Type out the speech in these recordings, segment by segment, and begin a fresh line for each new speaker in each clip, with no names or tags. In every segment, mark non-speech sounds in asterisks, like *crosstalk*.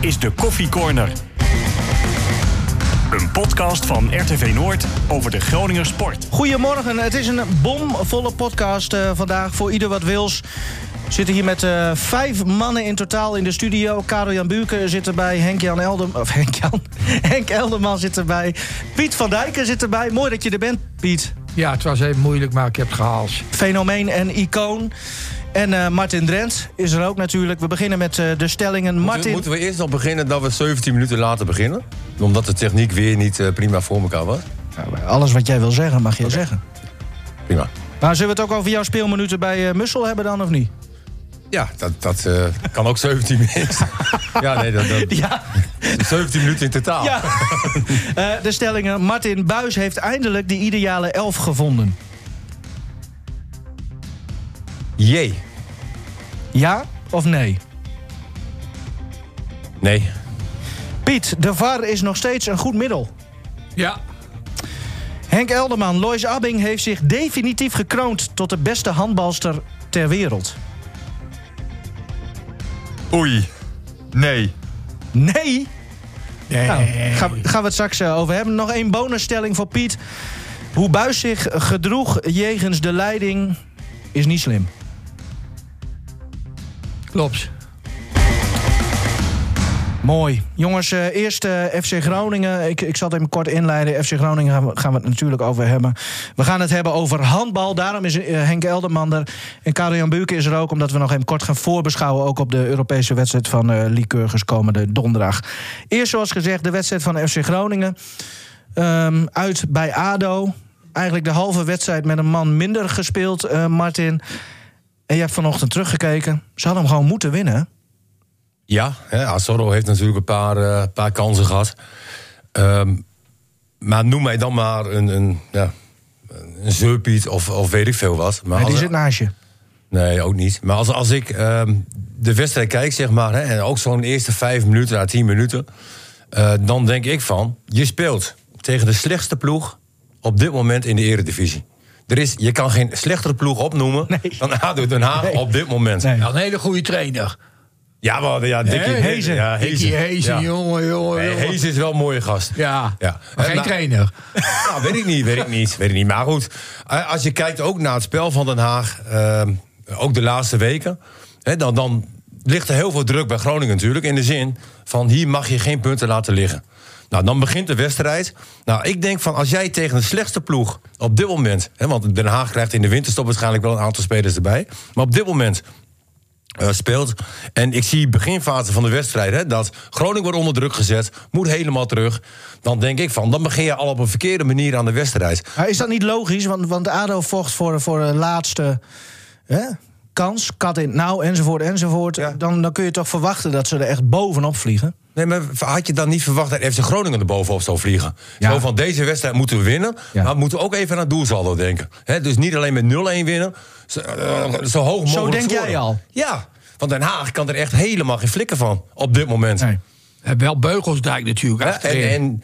is de Koffie Corner. Een podcast van RTV Noord over de Groninger sport.
Goedemorgen, het is een bomvolle podcast eh, vandaag voor ieder wat wils. We zitten hier met eh, vijf mannen in totaal in de studio. Karel-Jan Buurken zit erbij, Henk-Jan Eldem, of Henk-Jan, *laughs* Henk Elderman zit erbij. Piet van Dijken zit erbij, mooi dat je er bent, Piet.
Ja, het was even moeilijk, maar ik heb het gehaald.
Fenomeen en icoon. En eh, Martin Drent is er ook natuurlijk. We beginnen met eh, de stellingen. Martin,
Moeten we eerst nog beginnen dat we 17 minuten later beginnen? Omdat de techniek weer niet eh, prima voor elkaar was?
Nou, alles wat jij wil zeggen mag je zeggen.
Prima.
Maar zullen we het ook over jouw speelminuten bij eh, Mussel hebben dan, of niet?
Ja, dat, dat eh, kan ook 17 *laughs* minuten. ja, nee, dat, dat-
Ja,
17 minuten in totaal.
Ja. *laughs* Eh, de stellingen. Martin Buis heeft eindelijk die ideale elf gevonden.
Jee.
Ja of nee?
Nee.
Piet, de VAR is nog steeds een goed middel.
Ja,
Henk Elderman, Lois Abbing heeft zich definitief gekroond tot de beste handbalster ter wereld.
Oei. Nee.
Nee? Nou, ga- gaan we het straks eh, over hebben. Nog één bonusstelling voor Piet. Hoe Buis zich gedroeg jegens de leiding is niet slim.
klopt.
Mooi. Jongens, eh, eerst eh, FC Groningen. Ik, ik zal het even kort inleiden. FC Groningen gaan we, gaan we het natuurlijk over hebben. We gaan het hebben over handbal. Daarom is eh, Henk Elderman er. En Karel-Jan Buurken is er ook, omdat we nog even kort gaan voorbeschouwen... ook op de Europese wedstrijd van eh Lycurgus komende donderdag. Eerst, zoals gezegd, de wedstrijd van FC Groningen. Ehm, uit bij ADO. Eigenlijk de halve wedstrijd met een man minder gespeeld, eh, Martin. En je hebt vanochtend teruggekeken. Ze hadden hem gewoon moeten winnen, hè?
Ja, hè, Azorro heeft natuurlijk een paar, eh, paar kansen gehad. Ehm, maar noem mij dan maar een, een, ja, een zeurpiet of, of weet ik veel wat. Maar
En die
als-
zit naast je.
Nee, ook niet. Maar als, als ik ehm, de wedstrijd kijk, zeg maar, hè, en ook zo'n eerste vijf minuten à tien minuten, eh, dan denk ik van, je speelt tegen de slechtste ploeg op dit moment in de eredivisie. Er is, je kan geen slechtere ploeg opnoemen
Nee.
dan ADO Den Haag
Nee.
op dit moment.
Nee.
Ja, een hele goede trainer.
Ja, maar, ja, Dickie
Hè?
Hezen. Ja,
Dickie Hezen,
Ja.
jongen, jongen,
Nee,
jongen.
Hezen is wel een mooie gast.
Ja,
Ja.
maar
Hè,
geen
maar-
trainer.
*laughs* Nou, weet ik niet, weet ik niet, weet ik niet. Maar goed, eh, als je kijkt ook naar het spel van Den Haag, ehm, ook de laatste weken, hè, dan, dan ligt er heel veel druk bij Groningen natuurlijk. In de zin van hier mag je geen punten laten liggen. Nou, dan begint de wedstrijd. Nou, ik denk van als jij tegen de slechtste ploeg op dit moment, hè, want Den Haag krijgt in de winterstop waarschijnlijk wel een aantal spelers erbij, maar op dit moment eh, speelt. En ik zie beginfase van de wedstrijd hè, dat Groningen wordt onder druk gezet, moet helemaal terug. Dan denk ik van, dan begin je al op een verkeerde manier aan de wedstrijd.
Maar is dat niet logisch? Want, want ADO vocht voor, voor de laatste hè, kans. Kat in het nauw, enzovoort, enzovoort.
Ja.
Dan, dan kun je toch verwachten dat ze er echt bovenop vliegen.
Nee, maar had je dan niet verwacht dat FC Groningen er bovenop zou vliegen?
Ja.
Zo van deze wedstrijd moeten we winnen,
Ja.
maar we moeten ook even aan het doelsaldo denken. Hè, dus niet alleen met 0-1 winnen, zo, eh, zo hoog mogelijk
Zo denk jij
scoren.
al?
Ja, want Den Haag kan er echt helemaal geen flikken van op dit moment.
En wel Beugelsdijk natuurlijk.
Ja,
achterin.
en, en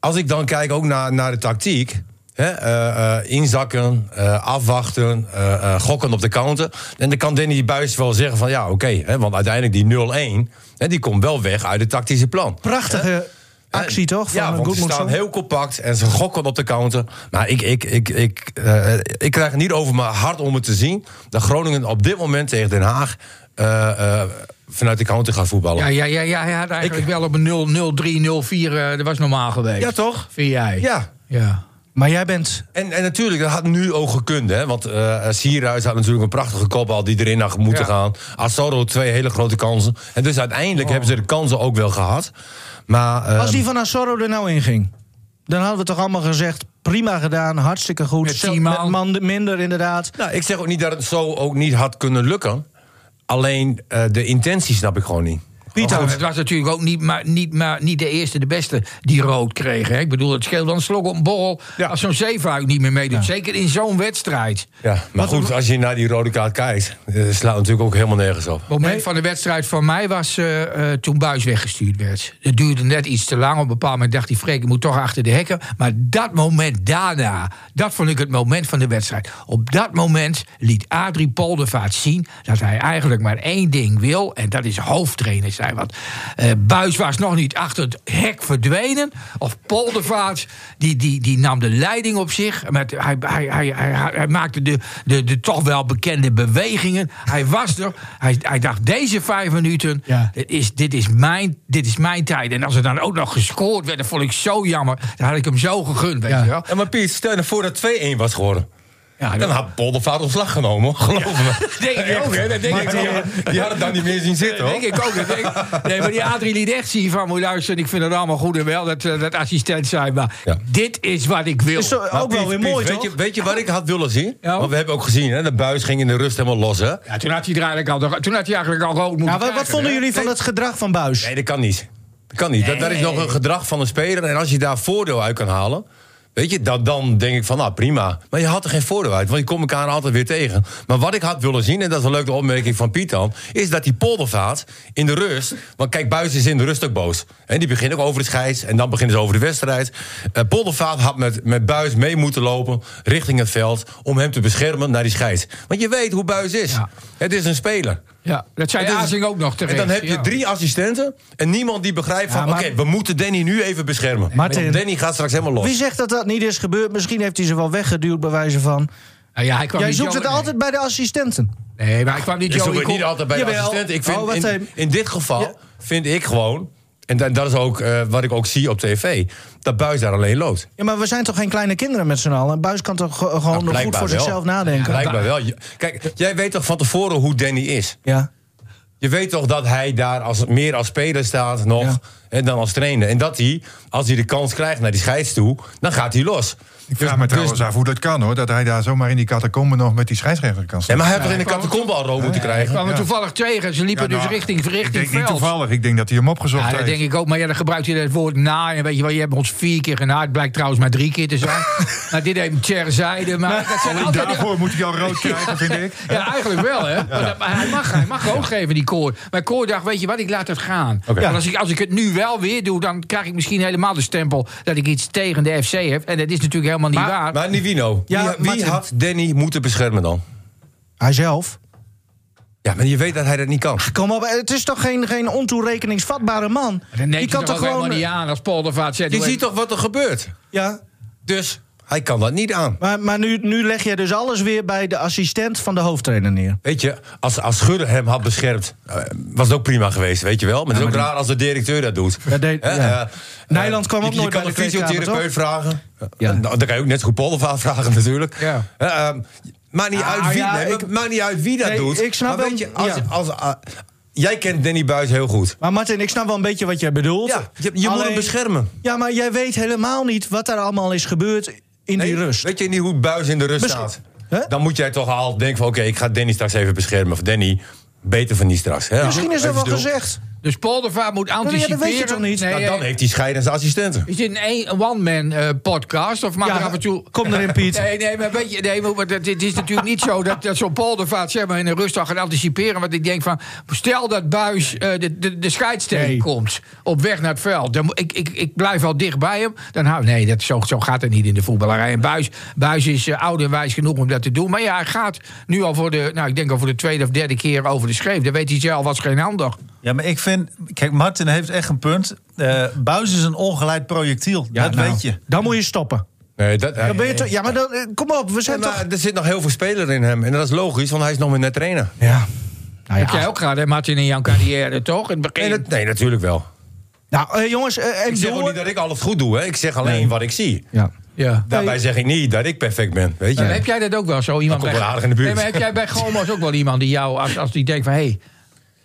als ik dan kijk ook naar, naar de tactiek. Hè, eh, eh, inzakken, eh, afwachten, eh, eh, gokken op de counter. En dan kan Danny Buis wel zeggen van ja, oké. hè, want uiteindelijk die 0-1, hè, die komt wel weg uit het tactische plan.
Prachtige actie, toch?
ja,
van
want ze
Goodmanson?
staan heel compact en ze gokken op de counter. Maar ik, ik, ik, ik, eh, ik krijg het niet over mijn hart om het te zien... dat Groningen op dit moment tegen Den Haag eh, eh, vanuit de counter gaat voetballen.
ja, ja, ja, ja, hij had eigenlijk wel op een 0, 0, 3, 0, 4, eh, dat was normaal geweest.
Ja, toch?
Vind jij?
ja.
Ja.
Maar jij bent...
En, en natuurlijk, dat had nu ook gekund. Hè? Want eh Sierhuis had natuurlijk een prachtige kopbal die erin had moeten
Ja. Oh.
gaan. Asoro twee hele grote kansen. En dus uiteindelijk hebben ze de kansen ook wel gehad. Maar eh,
Als die van Asoro er nou in ging... dan hadden we toch allemaal gezegd... prima gedaan, hartstikke goed.
Met
Zelf-
tien
met
man.
man minder, inderdaad.
nou, ik zeg ook niet dat het zo ook niet had kunnen lukken. Alleen eh, de intentie snap ik gewoon niet.
Piet
Maar
ook.
het was natuurlijk ook niet, maar, niet, maar, niet de eerste, de beste die rood kreeg. Hè? Ik bedoel, het scheelt dan een slok op een borrel
Ja.
als zo'n zeefuik niet meer meedoet. Zeker in zo'n wedstrijd.
Ja, maar goed, als je naar die rode kaart kijkt, eh, slaat natuurlijk ook helemaal nergens op.
Het moment van de wedstrijd van mij was eh, eh, toen Buis weggestuurd werd. Dat duurde net iets te lang. Op een bepaald moment dacht hij, Freek, ik moet toch achter de hekken. Maar dat moment daarna, dat vond ik het moment van de wedstrijd. Op dat moment liet Adrie Poldervaart zien dat hij eigenlijk maar één ding wil. En dat is hoofdtrainer zijn. Want eh, Buis was nog niet achter het hek verdwenen. Of Poldervaart, die, die, die nam de leiding op zich. Met, hij, hij, hij, hij, hij- hij maakte de, de, de toch wel bekende bewegingen. Hij was er. Hij, hij dacht, deze vijf minuten,
Ja.
dit, is, dit, is mijn, dit is mijn tijd. En als er dan ook nog gescoord werd, dat vond ik zo jammer. Dan had ik hem zo gegund, weet
Ja.
je wel.
Ja, maar Piet, stel je nou voor dat 2-1 was geworden.
Ja,
Dan had Poldervaart ontslag genomen, hoor. geloof me.
Denk ik
Echt,
ook,
hè? Dat denk ik, die,
eh,
die had het dan niet meer zien zitten, hoor.
Denk ik ook. dat denk ik. nee, maar die Adrie liet echt zien van... moet luisteren, ik vind het allemaal goed en wel dat, eh, dat assistent zijn... maar
Ja.
dit is wat ik wil.
Is zo-
Maar
ook wel
Piet,
weer
Piet,
mooi,
weet
toch?
Je, weet je wat ik had willen zien?
Ja.
Want we hebben ook gezien, hè, de buis ging in de rust helemaal los, hè?
Ja, toen, had hij er eigenlijk al, de- toen had hij eigenlijk al rood moeten
Ja, Nou, wat, wat
krijgen,
vonden
hè?
jullie van het gedrag van Buis?
Nee, dat kan niet. Dat kan niet. Dat, dat is nog een gedrag van een speler. En als je daar voordeel uit kan halen, weet je, dat, dan denk ik van, nou prima. Maar je had er geen voordeel uit, want je komt elkaar altijd weer tegen. Maar wat ik had willen zien, en dat is een leuke opmerking van Piet dan... is dat die poldervaart in de rust... want kijk, Buis is in de rust ook boos. En die begint ook over de scheids en dan beginnen ze over de wedstrijd. Eh, poldervaart had met, met Buis mee moeten lopen richting het veld... om hem te beschermen naar die scheids. Want je weet hoe Buis is.
Ja.
Het is een speler.
Ja, dat zei
Het is-
Azing ook nog terecht.
En dan heb je
ja.
drie assistenten en niemand die begrijpt van...
Ja, maar-
oké, we moeten Danny nu even beschermen.
Martin.
Want Danny gaat straks helemaal los.
Wie zegt dat dat niet is gebeurd? Misschien heeft hij ze wel weggeduwd, bij wijze van.
Nou ja, hij kwam
Jij
niet
zoekt
zo-
het altijd bij de assistenten.
Nee, maar hij kwam niet
Ik
zo...
zoek het niet altijd bij de
Jawel.
assistenten. Ik vind
Oh, wat
in,
hij-
in dit geval
Ja.
vind ik gewoon... en da- dat is ook eh, wat ik ook zie op tv... dat Buis daar alleen loopt.
Ja, maar we zijn toch geen kleine kinderen met z'n allen? Buis kan toch ge- gewoon
Nou,
goed
blijkbaar
voor
wel.
zichzelf nadenken? Ja.
Blijkbaar wel. Je- Kijk, jij weet toch van tevoren hoe Danny is? Je weet toch dat hij daar als, meer als speler staat nog
Ja.
hè, dan als trainer. En dat hij, als hij de kans krijgt naar die scheids toe... dan gaat hij los.
Ik vraag me trouwens af hoe dat kan hoor. Dat hij daar zomaar in die catacomben nog met die scheidsrechter kan
Ja,
staan.
maar hij heeft er in de kattenkombe al rood moeten
Hij
krijgen.
kwam er
Ja.
toevallig tegen. Ze liepen
Ja, nou,
dus richting,
Ik
richting
denk niet
veld.
toevallig. Ik denk dat hij hem opgezocht
Ja, dat
heeft.
denk ik ook. Maar ja, dan gebruikt hij het woord na. En weet je wel, je hebt ons vier keer genaaid. Blijkt trouwens maar drie keer te
*laughs*
zijn. maar dit heeft Terzijde. Maar dat zijn altijd... die-
Daarvoor moet hij al rood krijgen, vind ik.
*laughs* Ja, eigenlijk wel,
*laughs*
hè? Maar dat- maar hij mag, hij mag rood geven, die koor. Maar koor dacht, weet je wat, ik laat het gaan.
Oké.
Want als ik, als ik het nu wel weer doe, dan krijg ik misschien helemaal de stempel... dat ik iets tegen de FC heb. En dat is natuurlijk helemaal niet waar.
Maar Nivino,
Ja,
wie, wie
Martin.
had Danny moeten beschermen dan?
Hij zelf.
Ja, maar je weet dat hij dat niet kan.
Kom op, het is toch geen, geen ontoerekeningsvatbare man?
Dan neemt
Die
hij
kan toch
ook helemaal
gewoon... eh,
niet aan als Paul de Vaart zegt...
Je
doe
ziet
even-
toch wat er gebeurt?
Ja,
Dus hij kan dat niet aan.
maar, maar nu, nu leg je dus alles weer bij de assistent van de hoofdtrainer neer.
Weet je, als, als Schudder hem had beschermd, eh, was het ook prima geweest, weet je wel. Maar het is ook raar als de directeur dat doet.
Dat deed-
Hè,
ja.
eh,
Nijland
eh,
kwam ook
je-
nooit
Je
bij
kan
de
een
kleedkamer,
fysiotherapeut vragen.
Ja.
Ja. Dan kan je ook net zo goed Poldervaar vragen *laughs* natuurlijk.
Ja.
Eh, eh, maakt, niet
Ah,
uit wie,
ja,
nee,
ik-
maakt niet uit wie dat
Nee,
doet.
ik snap
maar
hem,
weet je, als,
ja.
als, ah, jij kent Danny Buis heel goed.
Maar Martin, ik snap wel een beetje wat jij bedoelt.
Ja, je, je moet
Alleen-
hem beschermen.
Ja, maar jij weet helemaal niet wat er allemaal is gebeurd in die
Nee,
rust.
Weet je niet hoe Buis in de rust
Besch-
staat?
Hè?
Dan moet jij toch al denken van... oké, ik ga Danny straks even beschermen. Of Danny, beter van die straks. Hè?
Misschien is dat
Even
wel
stil.
gezegd.
Dus Paul de Vaart moet
dat weet je
anticiperen.
toch niet?
Nee,
Nou, dan
eh,
heeft hij scheidende assistenten.
Is dit een een one-man eh, podcast? Of mag
Ja,
er af en toe...
kom erin, Piet.
*laughs* Nee, nee, maar weet je, nee, maar dat- het is natuurlijk niet zo dat, dat zo'n poldervaart zeg maar, in de rust al gaat anticiperen. Want ik denk van, stel dat Buis eh, de, de, de scheids tegenkomt op weg naar het veld. Dan, mo- ik, ik, ik blijf al dicht bij hem. Dan hou, nee, dat, zo, zo gaat het niet in de voetballerij. En Buis, Buis is eh, oud en wijs genoeg om dat te doen. Maar ja, hij gaat nu al voor de, nou, ik denk al voor de tweede of derde keer over de scheef. Dan weet hij zelf, was geen ander.
Ja, maar ik vind... Kijk, Martin heeft echt een punt. Eh Buis is een ongeleid projectiel. dat
Nou,
weet je.
Dan moet je stoppen.
Nee, dat,
Dan ben je toch- ja, maar dan, eh, kom op, we
Nee,
zijn
maar
toch...
er zit nog heel veel speler in hem. En dat is logisch, want hij is nog maar net trainer.
Ja. Nou
Heb jij ook gehad, hè, Martin, in jouw carrière, toch? In het begin.
Nee, dat- nee, natuurlijk wel.
Nou, eh, jongens, eh, en
Ik zeg ook
door...
niet dat ik alles goed doe. Hè. Ik zeg alleen wat ik zie.
Ja.
ja.
Daarbij zeg ik niet dat ik perfect ben. Weet je?
Maar Heb jij dat ook wel zo? Iemand
komt
bij-
wel aardig in de buurt.
Nee, maar heb jij bij Gomo's ook wel iemand die jou, als, als die denkt van hé,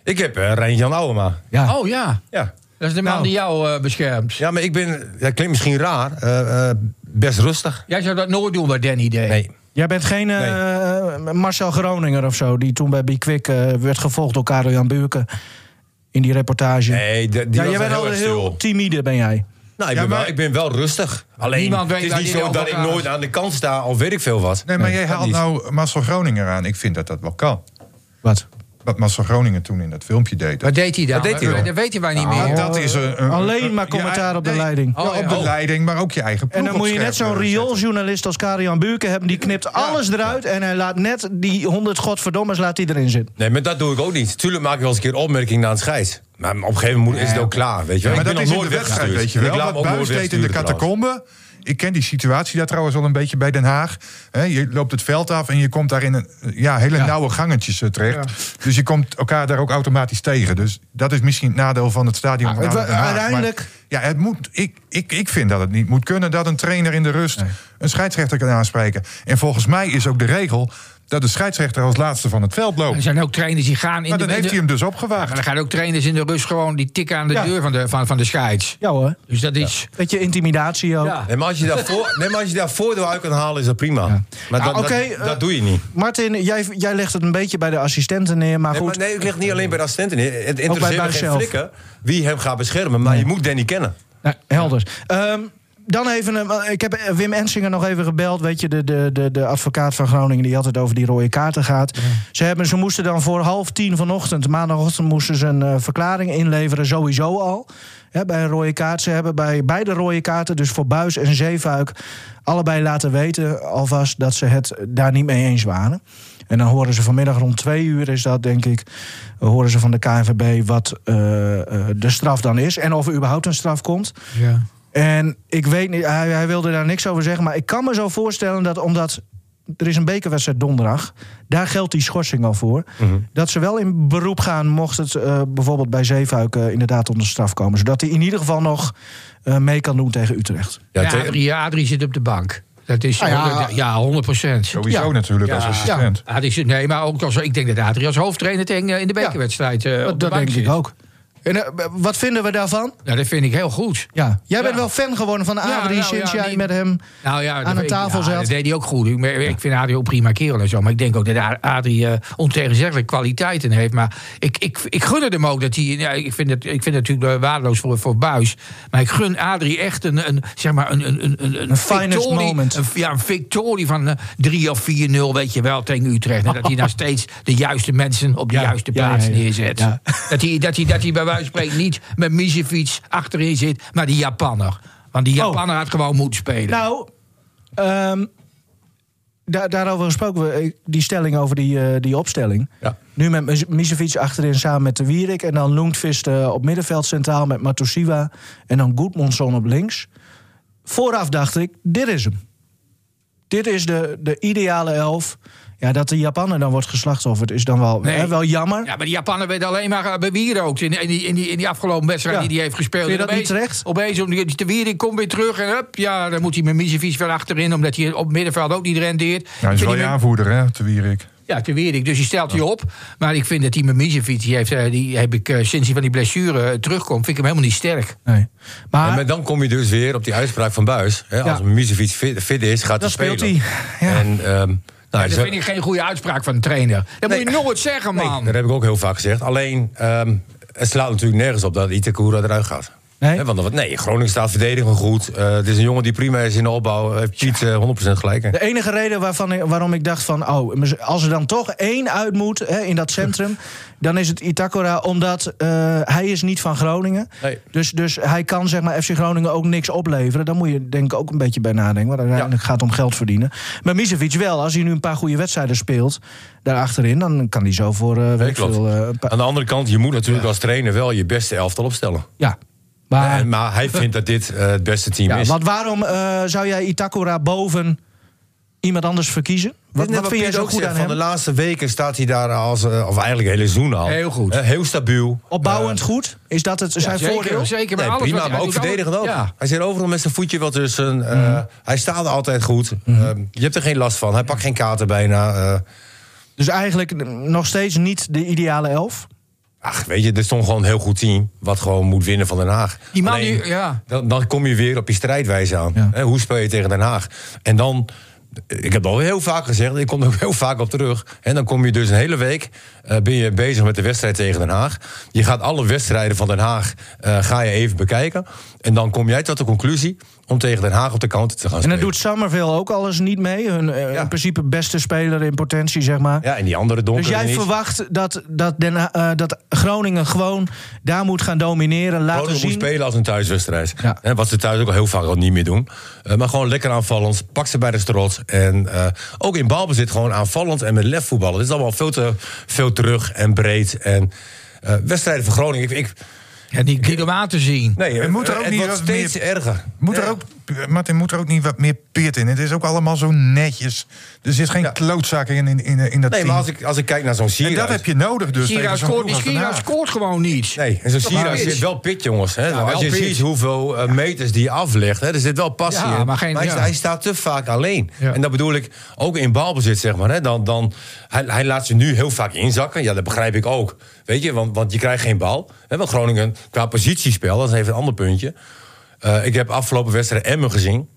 Ik heb eh Rijn-Jan Ouwema.
Ja.
oh ja,
Ja.
dat is de man
Nou.
die jou eh, beschermt.
ja, maar ik ben, dat klinkt misschien raar, eh, eh, best rustig.
Jij zou dat nooit doen wat Danny deed.
Nee.
Jij bent geen eh, Marcel Groninger of zo, die toen bij Bikwik eh werd gevolgd door Karel Jan Buurken in die reportage.
Nee, de- die
ja,
was
jij bent
heel
al
erg
heel
stil.
timide, ben jij.
Nou, ik,
Ja,
ben
maar-
wel, ik ben wel rustig. Alleen,
Niemand weet
het is
waar
niet
die
zo dat
over
ik
gaat.
nooit aan de kant sta of weet ik veel wat.
Nee, maar jij
dat
haalt
niet.
nou Marcel Groninger aan. Ik vind dat dat wel kan.
Wat?
Wat Marcel Groningen toen in dat filmpje deed. Nou.
Wat deed hij dan?
Wat deed hij dan?
Dat weten wij niet meer.
dat is een, een-
Alleen maar
ja,
commentaar op de
nee,
leiding.
ja,
Oh,
op
ja.
de leiding, maar ook je eigen ploeg
En dan
op
moet je net
scherp,
zo'n
eh, zetten.
riooljournalist als Karel-Jan Buurken hebben. Die knipt alles eruit en hij laat net die 100 godverdommers laat hij erin zitten.
Nee, maar dat doe ik ook niet. Tuurlijk maak ik wel eens een keer opmerking naar een scheids. Maar op een gegeven moment is het ook klaar, weet je wel.
maar
Ik
dat
ben
is
nog
in de
nooit
wedstrijd, weet je
weggestuurd.
wel.
Ik laat me
Wat
ook
Buis
nooit
deed in de
wegsturen trouwens.
catacombe. Ik ken die situatie daar trouwens al een beetje bij Den Haag. Hè, je loopt het veld af en je komt daar in een, eh, ja, hele nauwe gangetjes eh, terecht. Dus je komt elkaar daar ook automatisch tegen. Dus dat is misschien het nadeel van het stadion.
Ah,
van
het
ADO Den
wa-
Haag. Maar
uiteindelijk-
ja, het moet, ik, ik, ik vind dat het niet moet kunnen dat een trainer in de rust een scheidsrechter kan aanspreken. En volgens mij is ook de regel dat de scheidsrechter als laatste van het veld
Er
loopt.
zijn ook trainers die gaan in
Maar
de...
dan heeft hij hem dus opgewaagd.
Maar dan gaan ook trainers in de rust gewoon die tikken aan de
Ja.
deur van de, van, van de scheids.
Ja hoor.
Dus dat is...
Beetje intimidatie ook.
Nee, maar als je daar, voor,
*laughs*
nee, maar als je daar voordeel uit kan halen, is dat prima. Maar
Ah,
dat,
oké,
dat,
eh,
dat doe je niet.
Martin, jij, jij legt het een beetje bij de assistenten neer, maar
Nee,
goed.
maar nee, ik ligt niet alleen bij de assistenten. neer. Het interesseert me
buis
geen
zelf.
flikker wie hem gaat beschermen. Maar je moet Danny kennen.
Nou, helder. Ehm, dan even, een- want ik heb eh, Wim Ensinger nog even gebeld. Weet je, de, de, de, de advocaat van Groningen die altijd over die rode kaarten gaat. Ze, hebben, ze moesten dan voor half tien vanochtend, maandagochtend, moesten ze een eh, verklaring inleveren, sowieso al. Hè, bij een rode kaart. Ze hebben bij beide rode kaarten, dus voor Buis en Zeefuik, allebei laten weten alvast dat ze het daar niet mee eens waren. En dan horen ze vanmiddag rond twee uur, is dat denk ik, horen ze van de KNVB wat eh, eh, de straf dan is. En of er überhaupt een straf komt.
Ja.
En ik weet niet, hij, hij wilde daar niks over zeggen. Maar ik kan me zo voorstellen dat omdat er is een bekerwedstrijd donderdag. Daar geldt die schorsing al voor. Dat ze wel in beroep gaan mocht het eh, bijvoorbeeld bij Zeefuik eh, inderdaad onder straf komen. Zodat hij in ieder geval nog eh, mee kan doen tegen Utrecht.
Ja,
Ja,
tegen-
Adrie, eh, Adrie zit op de bank. Dat is
Ah, ja.
ja, ja 100 procent.
Sowieso natuurlijk als assistent.
nee, maar ook als, ik denk dat Adrie als hoofdtrainer tegen, in de bekerwedstrijd eh, op de
Dat, dat
bank
denk ik
zit.
ook. En eh, wat vinden we daarvan?
Nou, dat vind ik heel goed.
Ja. Jij bent
Ja.
wel fan geworden van
Ja,
Adrie
nou
sinds
ja,
jij
die-
met hem...
Nou ja, dat
een
weet-
tafel
ja,
zat.
Dat deed hij ook goed. Ik, maar ik vind Adrie ook prima kerel en zo. Maar ik denk ook dat A- Adrie eh ontegenzeggelijk kwaliteiten heeft. Maar ik, ik, ik gun het hem ook dat hij. Ja, ik, vind het, ik vind het natuurlijk eh, waardeloos voor, voor Buis. Maar ik gun Adrie echt een, een zeg maar een, een, een, een,
Een finest
victorie-
moment.
Een, ja, een victorie van eh, 3 of 4-0, weet je wel, tegen Utrecht. En dat
*laughs*
hij nou steeds de juiste mensen op de
Ja,
juiste
ja, ja,
plaats
ja.
neerzet.
Ja.
Dat, hij, dat, hij, dat hij bij wijze van spreken niet met Misevic achterin zit, maar die Japanner. Want die Japanner had gewoon moeten spelen.
Oh. Nou, ehm, da- daarover gesproken, we, eh, die stelling over die, eh, die opstelling.
Ja.
Nu met Mis- Misevic achterin samen met de Wierik. En dan Loentvist eh, op middenveld centraal met Matosiwa. En dan Goedmonson op links. Vooraf dacht ik, dit is hem. Dit is de, de ideale elf. Ja, dat de Japaner dan wordt geslachtofferd is dan wel,
Nee.
hè, wel jammer.
Ja, maar die Japaner werd alleen maar eh, bewierookt in, in, die, in, die, in die afgelopen wedstrijd
Ja.
die hij heeft gespeeld.
Vind je dat
En
niet
opeens-
terecht?
Opeens, om die, die Wierik komt weer terug en hup, ja, dan moet hij met Misevic weer achterin, omdat hij op middenveld ook niet rendeert.
Nou, hij
Ik
is
vind
wel
die
je
met-
aanvoerder, hè, te Wierik.
Ja, te Wierik. Dus die stelt hij op. Maar ik vind dat die Mimicevic, die, heeft, eh, die heb ik eh, sinds hij van die blessure eh, terugkomt, vind ik hem helemaal niet sterk.
Nee. Maar,
Ja, maar dan kom je dus weer op die uitspraak van Buis. Hè, Als Misevic fit, fit is,
Dan
gaat hij spelen.
speelt hij, ja.
En, ehm, nou,
dat
ze-
vind ik geen goede uitspraak van een trainer. Dat moet je nooit zeggen,
nee,
man.
dat heb ik ook heel vaak gezegd. Alleen, ehm, het slaat natuurlijk nergens op dat Itakura eruit gaat.
Nee.
Hè, want dan- nee, Groningen staat verdedigend goed. Eh, het is een jongen die prima is in de opbouw. Heeft Piet eh, 100% gelijk. hè.
De enige reden waarvan ik- waarom ik dacht van... oh, als er dan toch één uit moet hè, in dat
*laughs*
centrum... dan is het Itakura, omdat eh, hij is niet van Groningen.
Nee.
Dus, dus hij kan zeg maar, FC Groningen ook niks opleveren. Daar moet je denk ik ook een beetje bij nadenken. Want uiteindelijk gaat het om geld verdienen. Maar Misevic wel, als hij nu een paar goede wedstrijden speelt... daarachterin, dan kan hij zo voor... eh weet ik
klopt.
veel, eh, een paar-
Aan de andere kant, je moet natuurlijk als trainer wel je beste elftal opstellen.
ja,
Eh,
maar,
maar hij vindt dat dit eh, het beste team
Ah. ja,
is.
want waarom eh, zou jij Itakura boven iemand anders verkiezen? Wat,
Dit is
wat
net
vind jij
Piet
zo
ook
goed
zegt,
aan
Van
hem?
de laatste weken staat hij daar als, eh, of eigenlijk het hele seizoen al.
Heel goed.
Eh, heel stabiel.
Opbouwend
Eh,
goed? Is dat het, zijn
zeker,
voordeel?
Zeker,
Nee,
maar alles
prima,
wat-
maar
hij
ook
doet alles-
verdedigend ook.
Ja.
Hij zit overal met zijn voetje wat tussen. eh, Hij staat er altijd goed. Eh, je hebt er geen last van. Hij pakt geen kater bijna. eh.
Dus eigenlijk n- nog steeds niet de ideale elf.
ach, weet je, dit is toch gewoon een heel goed team. Wat gewoon moet winnen van Den Haag.
Die man
Alleen,
die- ja.
dan, dan kom je weer op je strijdwijze aan. Hè, hoe speel je tegen Den Haag? En dan... Ik heb het al heel vaak gezegd, ik kom er ook heel vaak op terug. En dan kom je dus een hele week eh, ben je bezig met de wedstrijd tegen Den Haag. Je gaat alle wedstrijden van Den Haag eh, ga je even bekijken. En dan kom jij tot de conclusie om tegen Den Haag op de counter te gaan
En
spelen.
dat doet Summerville ook alles niet mee. Hun eh,
Ja.
in principe beste speler in potentie, zeg maar.
Ja, en die andere
Dus
donkere
jij
niet.
verwacht dat, dat, Den Ha- eh, dat Groningen gewoon daar moet gaan domineren, laten
Groningen
zien.
moet spelen als een thuiswedstrijd.
Ja.
Hè, Wat ze thuis ook al heel vaak al niet meer doen. Eh, maar gewoon lekker aanvallend. Pak ze bij de strot. En eh, ook in balbezit gewoon aanvallend en met lef voetballen. Het is allemaal veel te veel terug en breed. En eh, eh, wedstrijden voor Groningen. Ik, ik,
Ja, niet, niet om aan te zien.
nee, het,
moet er ook
het
niet
wordt
wat meer-
steeds erger.
Moet er ook, Martin, moet er ook niet wat meer pit in? Het is ook allemaal zo netjes. Dus Er zit geen klootzak in, in, in, in
Nee,
dat team.
maar als ik, als ik kijk naar zo'n
en
Sierra.
dat heb je nodig dus tegen
Sierra
zo'n
scoort,
ploeg
die
als Den
Sierra
Haag.
scoort gewoon niet.
Nee, en zo'n
Dat
Sierra
is pitch.
zit wel pit, jongens. Hè?
Ja,
als
wel
je
pitch.
ziet hoeveel eh, meters die aflegt, hè? er zit wel passie
Ja,
in.
maar geen-
hij,
ja.
hij staat te vaak alleen.
Ja.
En dat bedoel ik ook in balbezit, zeg maar. Hè? Dan, dan, hij, hij laat ze nu heel vaak inzakken. Ja, dat begrijp ik ook. Weet je, want, want je krijgt geen bal. Hè? Want Groningen, qua positiespel, dat is even een ander puntje. Eh, ik heb afgelopen wedstrijd Emmen gezien.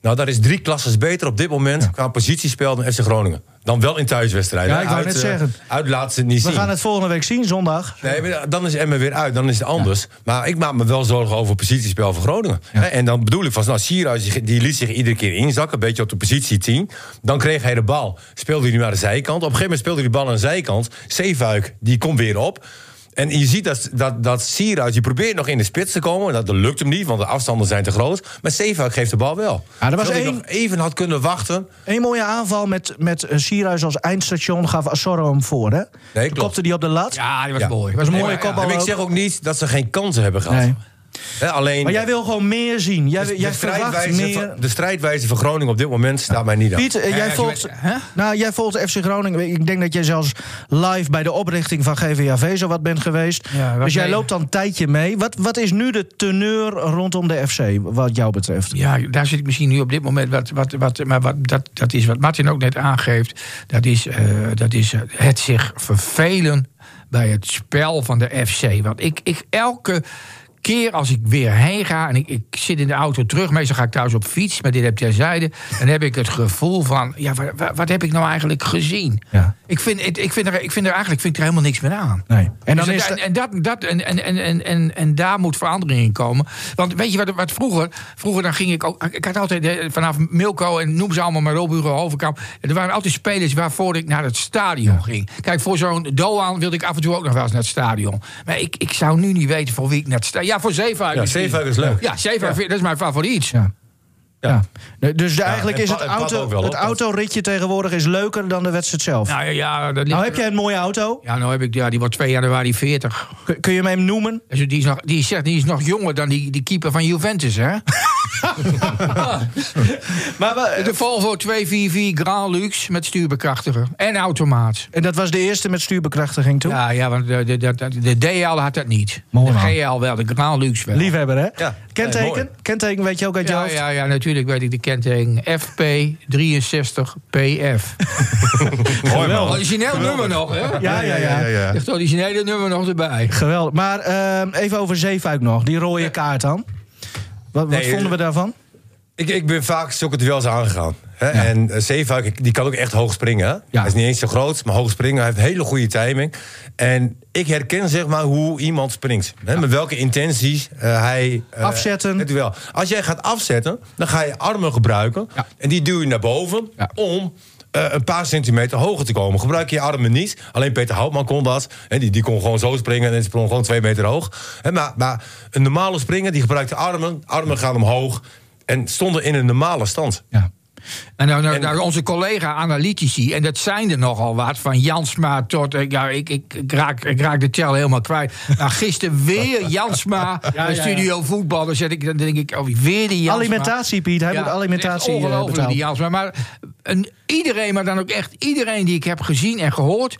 Nou, dat is drie klasses beter op dit moment qua positiespel dan FC Groningen. Dan wel in thuiswedstrijden.
Ja, ik wou
Uit,
net
eh,
zeggen.
Uit laat ze het niet
We
zien.
gaan het volgende week zien, zondag.
Nee, maar dan is Emmen weer uit, dan is het anders. Maar ik maak me wel zorgen over het positiespel van Groningen. Hè, En dan bedoel ik van, nou, Sierhuis die- die liet zich iedere keer inzakken, een beetje op de positie 10. Dan kreeg hij de bal, speelde hij nu aan de zijkant. Op een gegeven moment speelde hij de bal aan de zijkant. Zeefuik, die komt weer op. En je ziet dat, dat, dat Sierhuis, die probeert nog in de spits te komen. Dat, dat lukt hem niet, want de afstanden zijn te groot. Maar Zeefuik geeft de bal wel.
Ja, Ah, er was
Terwijl hij
één-
nog even had kunnen wachten.
Een mooie aanval met, met eh, Sierhuis als eindstation gaf Asoro hem voor, hè? Toen
klopt.
Kopte die op de lat.
Ja, die was
Ja.
mooi.
Dat was een
Nee,
mooie
maar-
kopbal
En ik
ook.
zeg ook niet dat ze geen kansen hebben gehad.
Nee.
Hè, alleen...
Maar jij wil gewoon meer zien. Jij,
Dus
jij
de,
verwacht
strijdwijze
meer...
van, de strijdwijze van Groningen op dit moment staat mij niet aan.
Piet, eh,
Ja,
jij,
ja,
volgt,
je bent- hè?
nou, jij volgt FC Groningen. Ik denk dat jij zelfs live bij de oprichting van GVAV zo wat bent geweest.
Ja, wat
dus jij
mee-
loopt dan een tijdje mee. Wat, wat is nu de teneur rondom de FC, wat jou betreft?
Ja, daar zit ik misschien nu op dit moment. Wat, wat, wat, maar wat, dat, dat is wat Martin ook net aangeeft. Dat is, eh, dat is eh, het zich vervelen bij het spel van de FC. Want ik, ik elke keer als ik weer heen ga en ik, ik zit in de auto terug, meestal ga ik thuis op fiets, maar dit heb jij zeiden, dan heb ik het gevoel van, ja, wa- wa- wat, heb ik nou eigenlijk gezien?
Ja.
Ik, vind, het- ik, vind er, ik vind er eigenlijk vind ik er helemaal niks meer aan.
Nee. En dan
Dus
is
en,
de-
en, dat, dat, en, en, en, en, en, en daar moet verandering in komen. Want weet je wat, wat vroeger? Vroeger dan ging ik ook. Ik had altijd eh, vanaf Milko en noem ze allemaal maar op, Hugo Hovenkamp. Er waren altijd spelers waarvoor ik naar het stadion ging. Kijk, voor zo'n Doan wilde ik af en toe ook nog wel eens naar het stadion. Maar ik, ik zou nu niet weten voor wie ik naar het stadion. Ja, voor Zeefuik.
ja,
misschien.
Zeefuik is leuk.
Ja, Zeefuik, dat is mijn favoriet.
Ja. Ja. Nee, Dus eigenlijk
en
is
pa-
het,
en pad
auto,
ook wel,
het
hoor. Dat-
autoritje tegenwoordig is leuker dan de wedstrijd zelf. Nou,
Nou ja, ja, dat ligt-
heb jij een mooie auto.
ja, nou heb ik, ja, die wordt 2 januari 40.
Kun- Kun je hem noemen?
Dus die, is nog, die, is, die is nog jonger dan die, die keeper van Juventus, hè?
*laughs* Maar, we-
De Volvo 244 Grand Luxe met stuurbekrachtiger en automaat.
en dat was de eerste met stuurbekrachtiging toen?
Ja, ja want de, de, de, de DL had dat niet.
Mooi,
de
man.
GL wel, de Grand Luxe wel.
Liefhebber, hè?
Ja.
Kenteken?
Nee, mooi.
Kenteken weet je ook uit je
ja,
hoofd?
ja, ja, natuurlijk weet ik de kenteken. FP63PF.
Mooi man.
Origineel nummer nog, hè?
Ja, ja, Oh. ja.
ja.
Echt originele nummer nog erbij.
Geweldig. Maar ehm, even over Zeefuik nog. Die rode kaart dan. Wat, wat
Nee,
vonden we
eh,
daarvan?
Ik, ik ben vaak zulke duels aangegaan. Hè? En eh, Zeefuik, ik- die kan ook echt hoog springen. Hè? Hij is niet eens zo groot, maar hoog springen. Hij heeft hele goede timing. En ik herken zeg maar hoe iemand springt. Hè? Met welke intenties eh, hij... eh,
Afzetten.
Het duel. Als jij gaat afzetten, dan ga je armen gebruiken.
Ja.
En die duw je naar boven
Ja.
om... eh, een paar centimeter hoger te komen. Gebruik je je armen niet. Alleen Peter Houtman kon dat. Hè, die, die kon gewoon zo springen en sprong gewoon twee meter hoog. Hè, maar, maar een normale springer die gebruikt de armen. Armen gaan omhoog. En stonden in een normale stand.
Ja. En nou, nou,
En-
nou, onze collega-analytici, en dat zijn er nogal wat, van Jansma tot. eh, Ja, ik, ik, ik, raak, ik raak de tel helemaal kwijt. Nou,
*laughs*
gisteren weer Jansma, bij studio voetbal. Dan, zet ik, dan denk ik, oh, weer die Jansma.
Alimentatie, Piet. Hij moet
het is
alimentatie eh,
ongelooflijk,
betalen.
die Jansma. Maar een, iedereen, maar dan ook echt iedereen die ik heb gezien en gehoord,